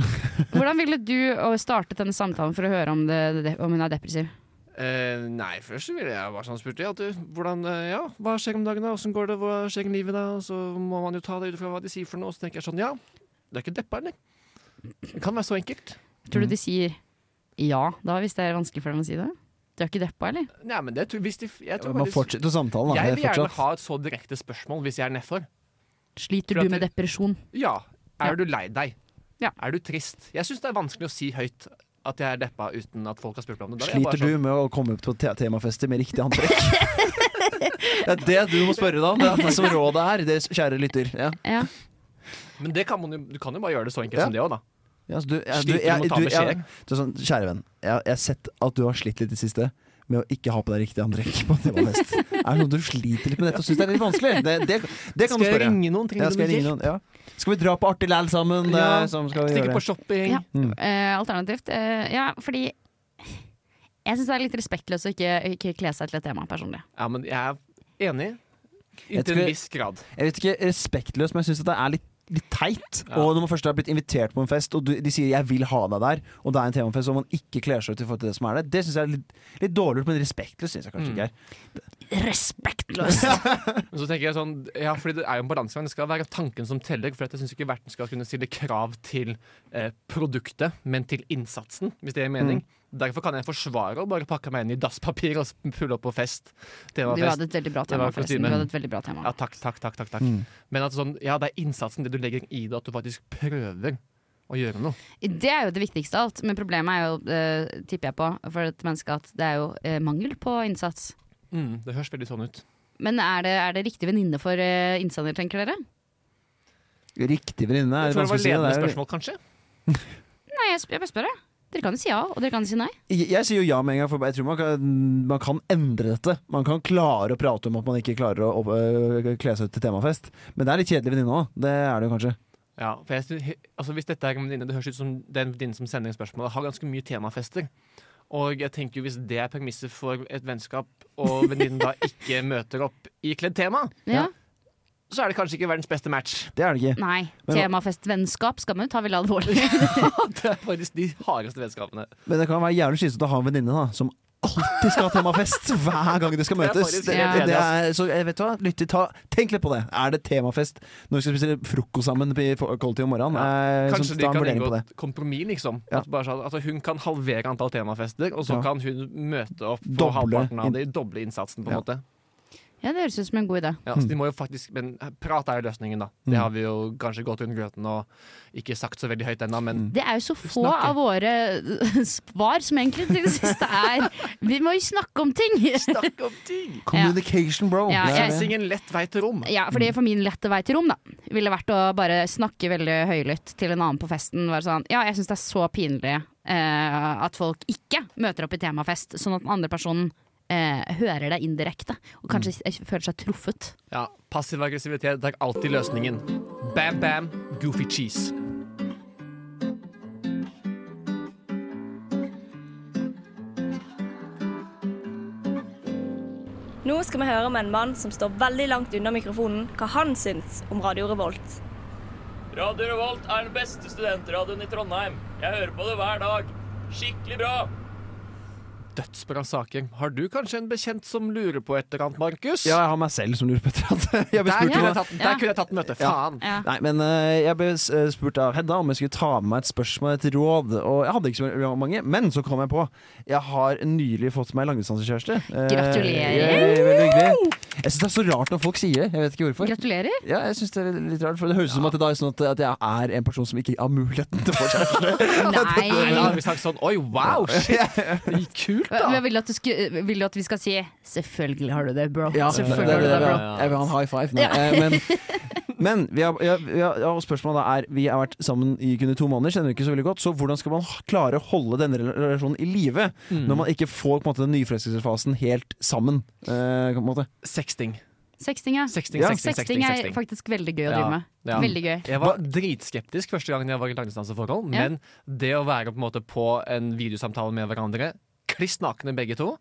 [SPEAKER 3] Hvordan ville du å startet denne samtalen for å høre om, det, det- om hun er depressiv?
[SPEAKER 2] Eh, nei, først så ville jeg bare sånn spurt ja, du, hvordan, eh, ja, hva skjer om dagen da, hvordan går det, hva skjer i livet da, og så må man jo ta det ut fra hva de sier for noe, og så tenker jeg sånn, ja, det er ikke deppa, eller? Det kan være så enkelt. Mm.
[SPEAKER 3] Tror du de sier ja da, hvis det er vanskelig for dem å si det? Du er ikke deppa, eller?
[SPEAKER 2] Nei, men det tror hvis de, jeg tror
[SPEAKER 4] Man
[SPEAKER 2] bare de-
[SPEAKER 4] fortsetter samtalen. Da.
[SPEAKER 2] Jeg
[SPEAKER 4] Det
[SPEAKER 2] vil
[SPEAKER 4] er
[SPEAKER 2] gjerne
[SPEAKER 4] fortsatt-
[SPEAKER 2] ha et så direkte spørsmål hvis jeg er nedfor.
[SPEAKER 3] Sliter
[SPEAKER 2] Tror
[SPEAKER 3] du
[SPEAKER 2] at
[SPEAKER 3] med
[SPEAKER 2] det-
[SPEAKER 3] depresjon?
[SPEAKER 2] Ja,
[SPEAKER 3] Ja.
[SPEAKER 2] er du lei deg?
[SPEAKER 3] Ja.
[SPEAKER 2] Er du trist? Jeg synes det er vanskelig å si høyt at jeg er deppa uten at folk har spurt meg om det. Da er jeg bare sånn,
[SPEAKER 4] Sliter du med å komme på te temafester med riktig antrekk? det er det du må spørre da. Det er det som rådet er, deres kjære lytter. Ja.
[SPEAKER 3] Ja.
[SPEAKER 2] sånn, men det kan man jo, du kan jo bare gjøre det så enkelt
[SPEAKER 4] Ja.
[SPEAKER 2] som det òg, da.
[SPEAKER 4] Ja, altså, du, jeg,
[SPEAKER 2] Sliter
[SPEAKER 4] du,
[SPEAKER 2] du med
[SPEAKER 4] jeg,
[SPEAKER 2] å ta
[SPEAKER 4] du,
[SPEAKER 2] med
[SPEAKER 4] jeg,
[SPEAKER 2] skjegg?
[SPEAKER 4] du er sånn, kjære venn, jeg, jeg har sett at du har slitt litt i det siste med å ikke ha på deg riktig antrekk på temafest. er det sånn at du sliter litt med dette og syns det er litt vanskelig? Det, det, det kan
[SPEAKER 2] Skal
[SPEAKER 4] du
[SPEAKER 2] jeg
[SPEAKER 4] spørre.
[SPEAKER 2] ringe noen? Trenger
[SPEAKER 4] Ja, skal,
[SPEAKER 2] du
[SPEAKER 4] jeg
[SPEAKER 2] noe
[SPEAKER 4] ringe
[SPEAKER 2] hjelp?
[SPEAKER 4] noen? Ja. skal vi dra på artig læl sammen?
[SPEAKER 2] Ja.
[SPEAKER 4] eh, Som skal vi
[SPEAKER 2] Stikke
[SPEAKER 4] gjøre.
[SPEAKER 2] på shopping?
[SPEAKER 3] Ja. Eh, alternativt. Eh, ja, fordi jeg syns det er litt respektløst å ikke, ikke kle seg til et tema, personlig.
[SPEAKER 2] Ja, men jeg er enig.
[SPEAKER 4] Jeg
[SPEAKER 2] Inntil
[SPEAKER 4] tror-
[SPEAKER 2] en viss grad.
[SPEAKER 4] Jeg vet ikke, respektløst, men jeg syns det er litt Litt teit.
[SPEAKER 2] Ja.
[SPEAKER 4] Og når man først har blitt invitert på en fest, og du, de sier 'jeg vil ha deg der', og det er en temafest, og man ikke kler seg ut i forhold til det som er der, det syns jeg er litt, litt dårlig, men respektløst syns
[SPEAKER 2] Mm.
[SPEAKER 4] jeg kanskje ikke er.
[SPEAKER 3] Respektløst!
[SPEAKER 2] Men så tenker jeg sånn, ja, fordi det er jo en balansegang. Det skal være tanken som teller. For at jeg syns ikke verten skal kunne stille krav til eh, produktet, men til innsatsen, hvis det gir
[SPEAKER 4] Mm.
[SPEAKER 2] mening. Derfor kan jeg forsvare å bare pakke meg inn i dasspapir og sp- pulle opp på fest.
[SPEAKER 3] Du
[SPEAKER 2] Temafest.
[SPEAKER 3] hadde et veldig bra
[SPEAKER 2] Det
[SPEAKER 3] tema,
[SPEAKER 2] var
[SPEAKER 3] forresten.
[SPEAKER 2] kostymen.
[SPEAKER 3] Du hadde et veldig bra tema.
[SPEAKER 2] Ja, takk, takk, takk. takk, takk.
[SPEAKER 4] Mm.
[SPEAKER 2] Men at sånn, ja, det er innsatsen, det du legger i det, at du faktisk prøver å gjøre noe.
[SPEAKER 3] Det er jo det viktigste av alt, men problemet er jo, eh, tipper jeg på, for et menneske at det er jo eh, mangel på innsats.
[SPEAKER 2] Mm, det høres veldig sånn ut.
[SPEAKER 3] Men er det, er det riktig venninne for eh, innsender, tenker dere?
[SPEAKER 4] Riktig venninne
[SPEAKER 2] Jeg
[SPEAKER 4] er
[SPEAKER 2] tror det
[SPEAKER 4] vanskelig å
[SPEAKER 2] var
[SPEAKER 4] si.
[SPEAKER 2] ledende
[SPEAKER 4] det er-
[SPEAKER 2] spørsmål, kanskje.
[SPEAKER 3] Nei, jeg, sp- jeg bare spør, jeg. Dere kan jo si ja, og dere kan jo si nei.
[SPEAKER 4] Jeg, jeg sier jo ja med en gang, for jeg tror man kan, man kan endre dette. Man kan klare å prate om at man ikke klarer å, å øh, kle seg ut til temafest. Men det er litt kjedelig venninne òg. Det er det jo kanskje.
[SPEAKER 2] Ja, for jeg, sy- he- altså hvis dette er en venninne, Det høres ut som den venninnen som sender inn spørsmålet, har ganske mye temafester. Og jeg tenker jo hvis det er premisset for et vennskap, og venninnen da ikke møter opp ikledd tema,
[SPEAKER 3] Ja.
[SPEAKER 2] så er det kanskje ikke verdens beste match.
[SPEAKER 4] Det er det ikke.
[SPEAKER 3] Nei.
[SPEAKER 4] Men-
[SPEAKER 3] Temafestvennskap skal man jo ta veldig alvorlig.
[SPEAKER 2] Det er faktisk de hardeste vennskapene.
[SPEAKER 4] Men det kan være jævlig slitsomt å ha en venninne da som alltid skal ha temafest hver gang de skal
[SPEAKER 2] Det er
[SPEAKER 4] møtes.
[SPEAKER 2] faktisk
[SPEAKER 4] Det,
[SPEAKER 3] helt
[SPEAKER 4] det, det er, så jeg vet du hva, lytter, ta, tenk litt på det. Er det temafest når vi skal spise frokost sammen i kollektiv om morgenen? Eh,
[SPEAKER 2] Kanskje
[SPEAKER 4] så
[SPEAKER 2] de
[SPEAKER 4] ta en
[SPEAKER 2] kan
[SPEAKER 4] vurdering
[SPEAKER 2] inngå
[SPEAKER 4] på det.
[SPEAKER 2] et kompromiss, liksom.
[SPEAKER 4] Ja.
[SPEAKER 2] At bare sånn, altså hun kan halvere antall temafester, og så
[SPEAKER 4] Ja.
[SPEAKER 2] kan hun møte opp på
[SPEAKER 4] Doble
[SPEAKER 2] halvparten
[SPEAKER 4] inn-
[SPEAKER 2] av det, doble innsatsen, på en
[SPEAKER 4] Ja. Mm.
[SPEAKER 2] måte.
[SPEAKER 3] ja, det høres ut som en god idé.
[SPEAKER 2] Ja, så de må jo faktisk, Men prat er jo løsningen, da. Det har vi jo kanskje gått under grøten og ikke sagt så veldig høyt ennå, men
[SPEAKER 3] Det er jo så få
[SPEAKER 2] Snakke.
[SPEAKER 3] av våre eh, svar som egentlig til det siste er Vi må jo snakke om ting!
[SPEAKER 4] Mm.
[SPEAKER 2] Snakk om ting!
[SPEAKER 4] Communication, bro.
[SPEAKER 3] Ja,
[SPEAKER 4] Det er
[SPEAKER 3] jeg
[SPEAKER 4] det.
[SPEAKER 2] Syng en lett vei til rom.
[SPEAKER 3] Ja, fordi For min lette vei til rom da ville vært å bare snakke veldig høylytt til en annen på festen. Være sånn, ja, jeg syns det er så pinlig eh, at folk ikke møter opp i temafest, sånn at den andre personen eh, hører det indirekte. Og kanskje
[SPEAKER 4] Mm.
[SPEAKER 3] s- føler seg truffet.
[SPEAKER 2] Ja, Passiv aggressivitet er alltid løsningen. Bam Bam, Goofy Cheese.
[SPEAKER 8] Nå skal vi høre med en mann som står veldig langt unna mikrofonen, hva han syns om Radio Revolt.
[SPEAKER 9] Radio Revolt er den beste studentradioen i Trondheim. Jeg hører på det hver dag. Skikkelig bra!
[SPEAKER 2] Dødsbra saker. Har du kanskje en bekjent som lurer på et eller annet, Markus?
[SPEAKER 4] Ja, jeg har meg selv som lurer på et eller annet. Jeg ble
[SPEAKER 2] Der,
[SPEAKER 4] spurt om
[SPEAKER 2] kunne jeg
[SPEAKER 4] det.
[SPEAKER 2] tatt,
[SPEAKER 3] Ja.
[SPEAKER 2] der kunne jeg tatt møte.
[SPEAKER 4] Ja.
[SPEAKER 2] Faen!
[SPEAKER 3] Ja.
[SPEAKER 4] Nei, men eh, jeg ble s- eh, spurt av Hedda om jeg skulle ta med meg et spørsmål, et råd. Og jeg hadde ikke så mange, men så kom jeg på. Jeg har nylig fått meg langdistansekjæreste. Eh,
[SPEAKER 3] Gratulerer!
[SPEAKER 4] yay, veldig hyggelig. Jeg syns det er så rart når folk sier det. Jeg vet ikke hvorfor.
[SPEAKER 3] Gratulerer.
[SPEAKER 4] Ja, jeg synes Det er litt rart, for det høres ut som at det da er sånn at, at jeg er en person som ikke har muligheten til å få kjæreste.
[SPEAKER 2] Nei, da
[SPEAKER 3] Nei!
[SPEAKER 2] hadde vi sagt sånn Oi, wow, shit! Kult,
[SPEAKER 3] Hva- hva
[SPEAKER 2] da!
[SPEAKER 3] Vil du, at du sku, vil du at vi skal si 'selvfølgelig har du det, bro'?
[SPEAKER 4] Ja, det, det,
[SPEAKER 3] Selvfølgelig
[SPEAKER 4] det,
[SPEAKER 3] har du det,
[SPEAKER 4] det,
[SPEAKER 3] bro.
[SPEAKER 4] jeg vil ha en high five. Nei, eh, men men vi har, ja, vi har, ja, og spørsmålet da er Vi har vært sammen i kun to måneder, kjenner ikke så veldig godt. Så hvordan skal man h- klare å holde denne rela- relasjonen i live når man ikke får på en måte, den nyforelskelsesfasen helt sammen? Eh, på en måte.
[SPEAKER 2] Sexting.
[SPEAKER 3] Sexting, ja.
[SPEAKER 2] Sexting, sexting, sexting,
[SPEAKER 3] Sexting er
[SPEAKER 2] sexting.
[SPEAKER 3] faktisk veldig gøy å
[SPEAKER 2] Ja,
[SPEAKER 3] drive med.
[SPEAKER 2] ja.
[SPEAKER 3] Veldig gøy.
[SPEAKER 2] Jeg var dritskeptisk første gangen jeg var i langdistanseforhold,
[SPEAKER 3] Ja.
[SPEAKER 2] men det å være på en, måte på en videosamtale med hverandre, kliss nakne begge to,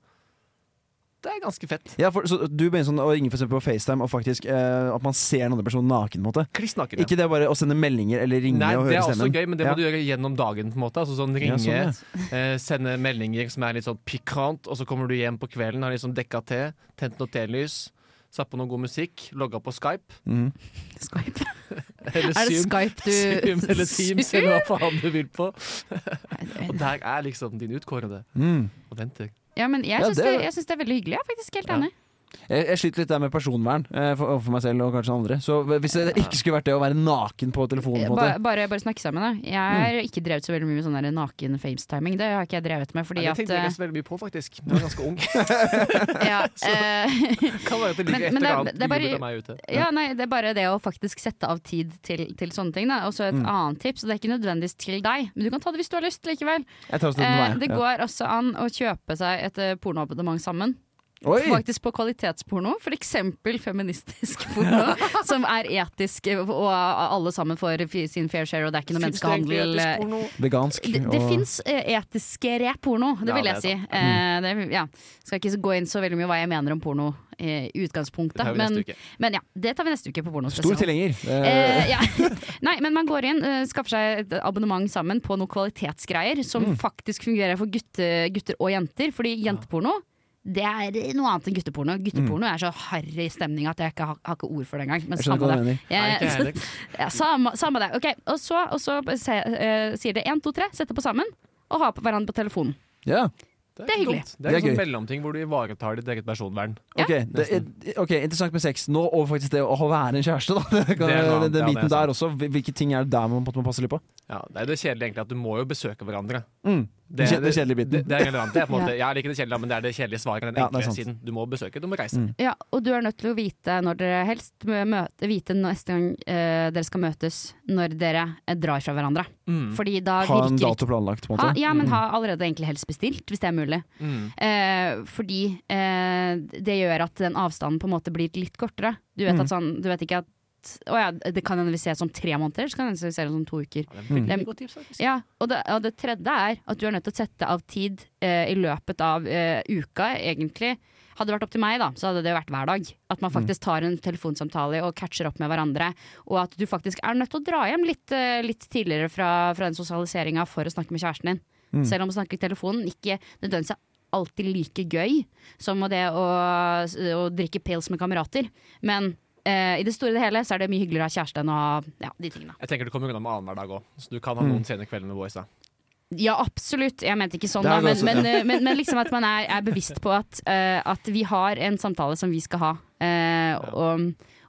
[SPEAKER 2] det er ganske fett.
[SPEAKER 4] Ja, for, så du mener sånn å ringe for eksempel på FaceTime og faktisk eh, at man ser den andre personen naken? på en måte
[SPEAKER 2] Kliss nakne.
[SPEAKER 4] Ikke det bare å sende meldinger eller ringe
[SPEAKER 2] Nei,
[SPEAKER 4] og
[SPEAKER 2] det
[SPEAKER 4] høre
[SPEAKER 2] er også
[SPEAKER 4] stemmen?
[SPEAKER 2] gøy, men det må du gjøre gjennom dagen. på en måte Altså sånn
[SPEAKER 4] Ja,
[SPEAKER 2] Ringe,
[SPEAKER 4] sånn,
[SPEAKER 2] eh, sende meldinger som er litt sånn pikant, og så kommer du hjem på kvelden, har liksom dekka te, tent noe telys, satt på noe god musikk, logga på Skype.
[SPEAKER 4] Mhm.
[SPEAKER 3] Skype.
[SPEAKER 2] Eller
[SPEAKER 3] Er det
[SPEAKER 2] Zoom.
[SPEAKER 3] Skype du
[SPEAKER 2] Zoom eller Teams,
[SPEAKER 3] Zoom?
[SPEAKER 2] eller hva faen du vil på.
[SPEAKER 3] Nei,
[SPEAKER 2] Og
[SPEAKER 3] det-
[SPEAKER 2] der er liksom din utkårede
[SPEAKER 4] Mm.
[SPEAKER 2] og venter.
[SPEAKER 3] Ja, men jeg
[SPEAKER 4] Ja,
[SPEAKER 3] syns
[SPEAKER 4] det-
[SPEAKER 3] det, jeg syns det er veldig hyggelig. Jeg er faktisk helt
[SPEAKER 2] Ja.
[SPEAKER 3] enig.
[SPEAKER 4] Jeg, jeg sliter litt der med personvern eh, for, overfor meg selv og kanskje andre. Så hvis det ikke skulle vært det å være naken på telefonen på en
[SPEAKER 3] Bare,
[SPEAKER 4] måte Mm.
[SPEAKER 3] bare, bare snakke sammen, da. Jeg har ikke drevet så veldig mye med sånn der naken facetiming. Det har ikke jeg drevet med. Fordi
[SPEAKER 2] Nei, det
[SPEAKER 3] at
[SPEAKER 2] tenkte jeg
[SPEAKER 3] eh,
[SPEAKER 2] ikke så veldig mye på, faktisk. Jeg var ganske ung.
[SPEAKER 3] ja, eh,
[SPEAKER 2] Kan være at det
[SPEAKER 3] Men-
[SPEAKER 2] ligger et
[SPEAKER 3] men det
[SPEAKER 2] eller
[SPEAKER 3] er-
[SPEAKER 2] annet
[SPEAKER 3] det er bare-
[SPEAKER 2] ujubel av meg ute.
[SPEAKER 3] Ja, nei, Det er bare det å faktisk sette av tid til, til sånne ting. Da. Og så
[SPEAKER 4] Mm.
[SPEAKER 3] et annet tips, og det er ikke nødvendigvis til deg, men du kan ta det hvis du har lyst likevel.
[SPEAKER 4] Jeg tar oss den
[SPEAKER 3] Eh,
[SPEAKER 4] veien.
[SPEAKER 3] det
[SPEAKER 4] Ja.
[SPEAKER 3] går også an å kjøpe seg et eh, pornoabonnement sammen.
[SPEAKER 4] Oi!
[SPEAKER 3] Faktisk på kvalitetsporno, f.eks. feministisk porno, som er etisk, eh, og alle sammen får fi- sin fair share, og det er ikke noe
[SPEAKER 2] Finnes det egentlig
[SPEAKER 3] menneskehandel.
[SPEAKER 2] etisk
[SPEAKER 3] eh,
[SPEAKER 2] porno?
[SPEAKER 4] Vegansk.
[SPEAKER 3] Det, det
[SPEAKER 4] og-
[SPEAKER 3] fins etiske reporno, det
[SPEAKER 2] Ja,
[SPEAKER 3] vil
[SPEAKER 2] det
[SPEAKER 3] jeg
[SPEAKER 2] er
[SPEAKER 3] si. Eh, det, ja. Skal ikke gå inn så veldig mye hva jeg mener om porno eh, i utgangspunktet,
[SPEAKER 2] Det tar vi
[SPEAKER 3] men,
[SPEAKER 2] neste uke.
[SPEAKER 3] men ja, det tar vi neste uke på
[SPEAKER 4] Stor
[SPEAKER 3] pornospesial.
[SPEAKER 4] tilhenger. Eh,
[SPEAKER 3] altså. Eh, ja. Nei, men man går inn, eh, skaffer seg et abonnement sammen på noen kvalitetsgreier som
[SPEAKER 4] Mm.
[SPEAKER 3] faktisk fungerer for gutte, gutter og jenter. Fordi jenteporno det er noe annet enn gutteporno. Gutteporno er så harry stemning at jeg ikke har, har ikke ord for det engang. Men
[SPEAKER 4] Mm. jeg
[SPEAKER 3] samme
[SPEAKER 4] skjønner hva
[SPEAKER 3] det.
[SPEAKER 4] du mener.
[SPEAKER 2] Nei, ikke jeg
[SPEAKER 3] Eh,
[SPEAKER 2] heller.
[SPEAKER 3] ja, samme, samme det. Ok, Og så, og så se, eh, sier det én, to, tre, sette på sammen og ha på hverandre på telefonen.
[SPEAKER 4] Ja.
[SPEAKER 2] Det
[SPEAKER 3] Det er
[SPEAKER 2] ikke
[SPEAKER 3] hyggelig.
[SPEAKER 2] dumt. Det er,
[SPEAKER 4] Det er
[SPEAKER 2] en sånn
[SPEAKER 4] gøy.
[SPEAKER 2] mellomting hvor du ivaretar ditt eget personvern.
[SPEAKER 3] Ja,
[SPEAKER 4] Ok, det, er- ok, Interessant med sex. Nå over faktisk det å å være en kjæreste. Da. Det kan,
[SPEAKER 2] Det er noe
[SPEAKER 4] den,
[SPEAKER 2] annet, ja,
[SPEAKER 4] den
[SPEAKER 2] det er
[SPEAKER 4] biten der også. Hvil- Hvilke ting er det der man måtte- må passe litt på?
[SPEAKER 2] Ja, det er jo det kjedelige egentlig at du må jo besøke hverandre.
[SPEAKER 4] Mm. Det, kje- det kjedelige biten.
[SPEAKER 2] Det, det er relevant. Det er på en måte, Jeg liker det kjedelige, men det er det kjedelige svaret. Den
[SPEAKER 4] Ja, det er
[SPEAKER 2] enkle
[SPEAKER 4] sant.
[SPEAKER 2] siden. Du må besøke, du må reise.
[SPEAKER 4] Mm.
[SPEAKER 3] Ja, og du er nødt til å vite når dere helst mø- møte, vite neste gang eh, dere skal møtes, når dere eh, drar fra hverandre.
[SPEAKER 2] Mm.
[SPEAKER 3] Fordi da
[SPEAKER 4] ha en
[SPEAKER 3] virker
[SPEAKER 4] dato planlagt, på en
[SPEAKER 3] Ha,
[SPEAKER 4] måte.
[SPEAKER 3] Ah,
[SPEAKER 4] Mm.
[SPEAKER 3] ja, men ha allerede egentlig helst bestilt, hvis det er mulig.
[SPEAKER 2] Mm.
[SPEAKER 3] Eh, fordi eh, det gjør at den avstanden på en måte blir litt kortere. Du
[SPEAKER 4] Mm.
[SPEAKER 3] vet, at sånn, du vet ikke at Å ja, det kan hende vi ses om tre måneder, så kan hende vi ses om to uker.
[SPEAKER 2] Ja, det er veldig
[SPEAKER 3] Mm.
[SPEAKER 2] godt tips, faktisk.
[SPEAKER 3] Ja, og det, og det tredje er at du er nødt til å sette av tid eh, i løpet av eh, uka, egentlig. Hadde det vært opp til meg, da, så hadde det vært hver dag. At man faktisk tar en telefonsamtale og catcher opp med hverandre. Og at du faktisk er nødt til å dra hjem litt, eh, litt tidligere fra, fra den sosialiseringa for å snakke med kjæresten din. Selv om å snakke i telefonen ikke nødvendigvis er alltid like gøy som det å, å drikke pils med kamerater. Men eh, i det store og det hele så er det mye hyggeligere å ha kjæreste enn å ha ja, de tingene.
[SPEAKER 2] Jeg tenker du kommer unna med annenhver dag òg, så du kan ha
[SPEAKER 4] Mm.
[SPEAKER 2] noen sene kvelder med boys. da
[SPEAKER 3] Ja, absolutt. Jeg mente ikke sånn,
[SPEAKER 4] Det er
[SPEAKER 3] da, men,
[SPEAKER 4] det også,
[SPEAKER 3] men, men, men liksom at man er, er bevisst på at, eh, at vi har en samtale som vi skal ha. eh, og,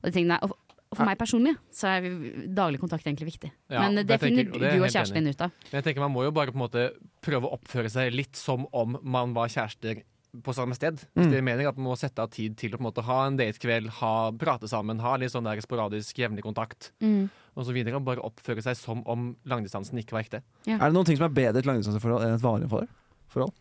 [SPEAKER 3] og, de tingene, og og for meg personlig så er vi- daglig kontakt egentlig viktig.
[SPEAKER 2] Ja,
[SPEAKER 3] men det
[SPEAKER 2] det tenker
[SPEAKER 3] finner
[SPEAKER 2] jeg, og det er jeg
[SPEAKER 3] du og
[SPEAKER 2] helt
[SPEAKER 3] kjæresten din ut av.
[SPEAKER 2] Men jeg tenker man må jo bare på en måte prøve å oppføre seg litt som om man var kjærester på samme sted. Hvis det er meningen at man må sette av tid til å på en måte ha en datekveld, ha, prate sammen, ha litt sånn der sporadisk jevnlig kontakt og så videre. og Bare oppføre seg som om langdistansen ikke var ekte.
[SPEAKER 4] Er det noen ting som er bedre i et langdistanseforhold enn et vanlig forhold? forhold?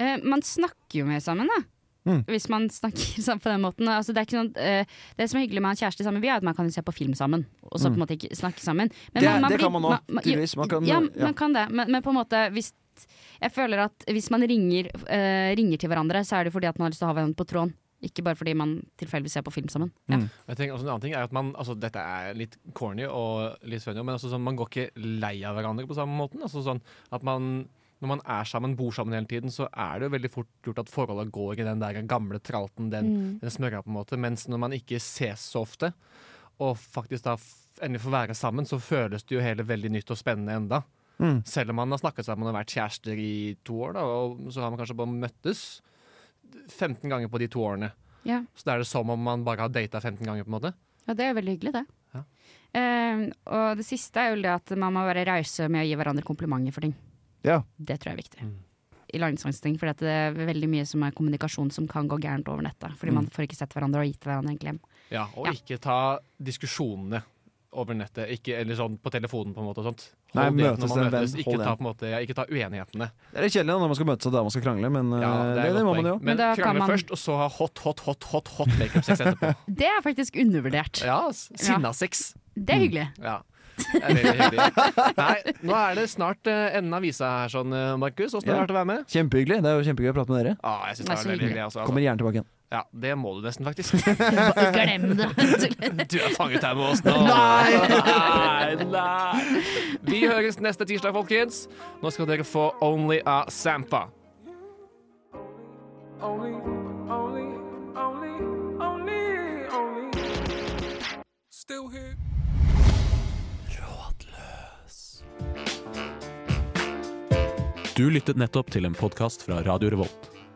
[SPEAKER 3] Eh, man snakker jo mer sammen, da.
[SPEAKER 4] Mm.
[SPEAKER 3] Hvis man snakker sammen på den måten. Altså, det, er ikke noe, eh, det som er hyggelig med å ha en kjæreste i samme by, er at man kan se på film sammen. Og så på en måte ikke snakke sammen. Men
[SPEAKER 4] Mm. Det- det kan man også, tydeligvis. Man kan-
[SPEAKER 3] ja,
[SPEAKER 4] ja.
[SPEAKER 3] man kan det. Men, men på en måte hvis jeg føler at hvis man ringer, eh, ringer til hverandre, så er det fordi at man har lyst til å ha hverandre på tråden. Ikke bare fordi man tilfeldigvis ser på film sammen. Ja.
[SPEAKER 4] Mm.
[SPEAKER 2] Og Jeg tenker også en annen ting er at man, altså Dette er litt corny og litt funny, men altså sånn, man går ikke lei av hverandre på samme måten. Altså sånn at man, Når man er sammen, bor sammen hele tiden, så er det jo veldig fort gjort at forholdet går i den der gamle tralten, den, den smørja, på en måte. Mens når man ikke ses så ofte, og faktisk da f- endelig får være sammen, så føles det jo hele veldig nytt og spennende enda. Selv om man har snakket sammen og vært kjærester i to år, da, og så har man kanskje bare møttes 15 ganger på de to årene.
[SPEAKER 3] Ja.
[SPEAKER 2] Så da er det som om man bare har data 15 ganger. på en måte
[SPEAKER 3] Ja, det er veldig hyggelig, det.
[SPEAKER 2] Ja.
[SPEAKER 3] Eh, og det siste er jo det at man må være rause med å gi hverandre komplimenter for ting.
[SPEAKER 4] Ja.
[SPEAKER 3] Det tror jeg er viktig. I langdistanseting, for det er veldig mye som er kommunikasjon som kan gå gærent over nettet. Fordi man får ikke sett hverandre og gitt hverandre en klem.
[SPEAKER 2] Ja, og
[SPEAKER 3] Ja.
[SPEAKER 2] ikke ta diskusjonene over nettet, ikke, eller sånn på telefonen på en måte og sånt. Hold
[SPEAKER 4] Nei,
[SPEAKER 2] det
[SPEAKER 4] møtes
[SPEAKER 2] når man
[SPEAKER 4] til en venn,
[SPEAKER 2] møtes. Ikke
[SPEAKER 4] hold
[SPEAKER 2] ta,
[SPEAKER 4] igjen.
[SPEAKER 2] på en måte, ja, ikke ta uenighetene.
[SPEAKER 4] Det er litt kjedelig da, når man skal møtes og der man skal krangle, men
[SPEAKER 2] Ja,
[SPEAKER 4] eh,
[SPEAKER 2] det er
[SPEAKER 4] det, det
[SPEAKER 2] godt
[SPEAKER 4] må man jo.
[SPEAKER 2] poeng. Men
[SPEAKER 3] Men da kan
[SPEAKER 2] krangle
[SPEAKER 3] man-
[SPEAKER 2] først, og så ha hot, hot, hot, hot, hot makeup-sex etterpå.
[SPEAKER 3] Det er faktisk undervurdert.
[SPEAKER 2] Ja, s- Sinna-sex.
[SPEAKER 3] Det er hyggelig.
[SPEAKER 2] Ja. Det er veldig hyggelig. Nei, nå er det snart eh, enden av visa her, sånn, eh, Markus. Åssen har det vært
[SPEAKER 4] Ja.
[SPEAKER 2] å være med?
[SPEAKER 4] Kjempehyggelig. Det er jo kjempegøy å prate med dere.
[SPEAKER 2] Ja, jeg synes
[SPEAKER 3] Det
[SPEAKER 2] det
[SPEAKER 3] er
[SPEAKER 2] var
[SPEAKER 3] så
[SPEAKER 2] veldig
[SPEAKER 3] hyggelig.
[SPEAKER 2] hyggelig. Altså,
[SPEAKER 4] Kommer gjerne tilbake igjen.
[SPEAKER 2] Ja, det må du nesten, faktisk.
[SPEAKER 3] Bare Glem det.
[SPEAKER 2] Du er fanget her med oss nå. Nei, nei. Vi høres neste tirsdag, folkens. Nå skal dere få Only a Sampa.
[SPEAKER 1] Du lyttet nettopp til en podkast fra Radio Revolt.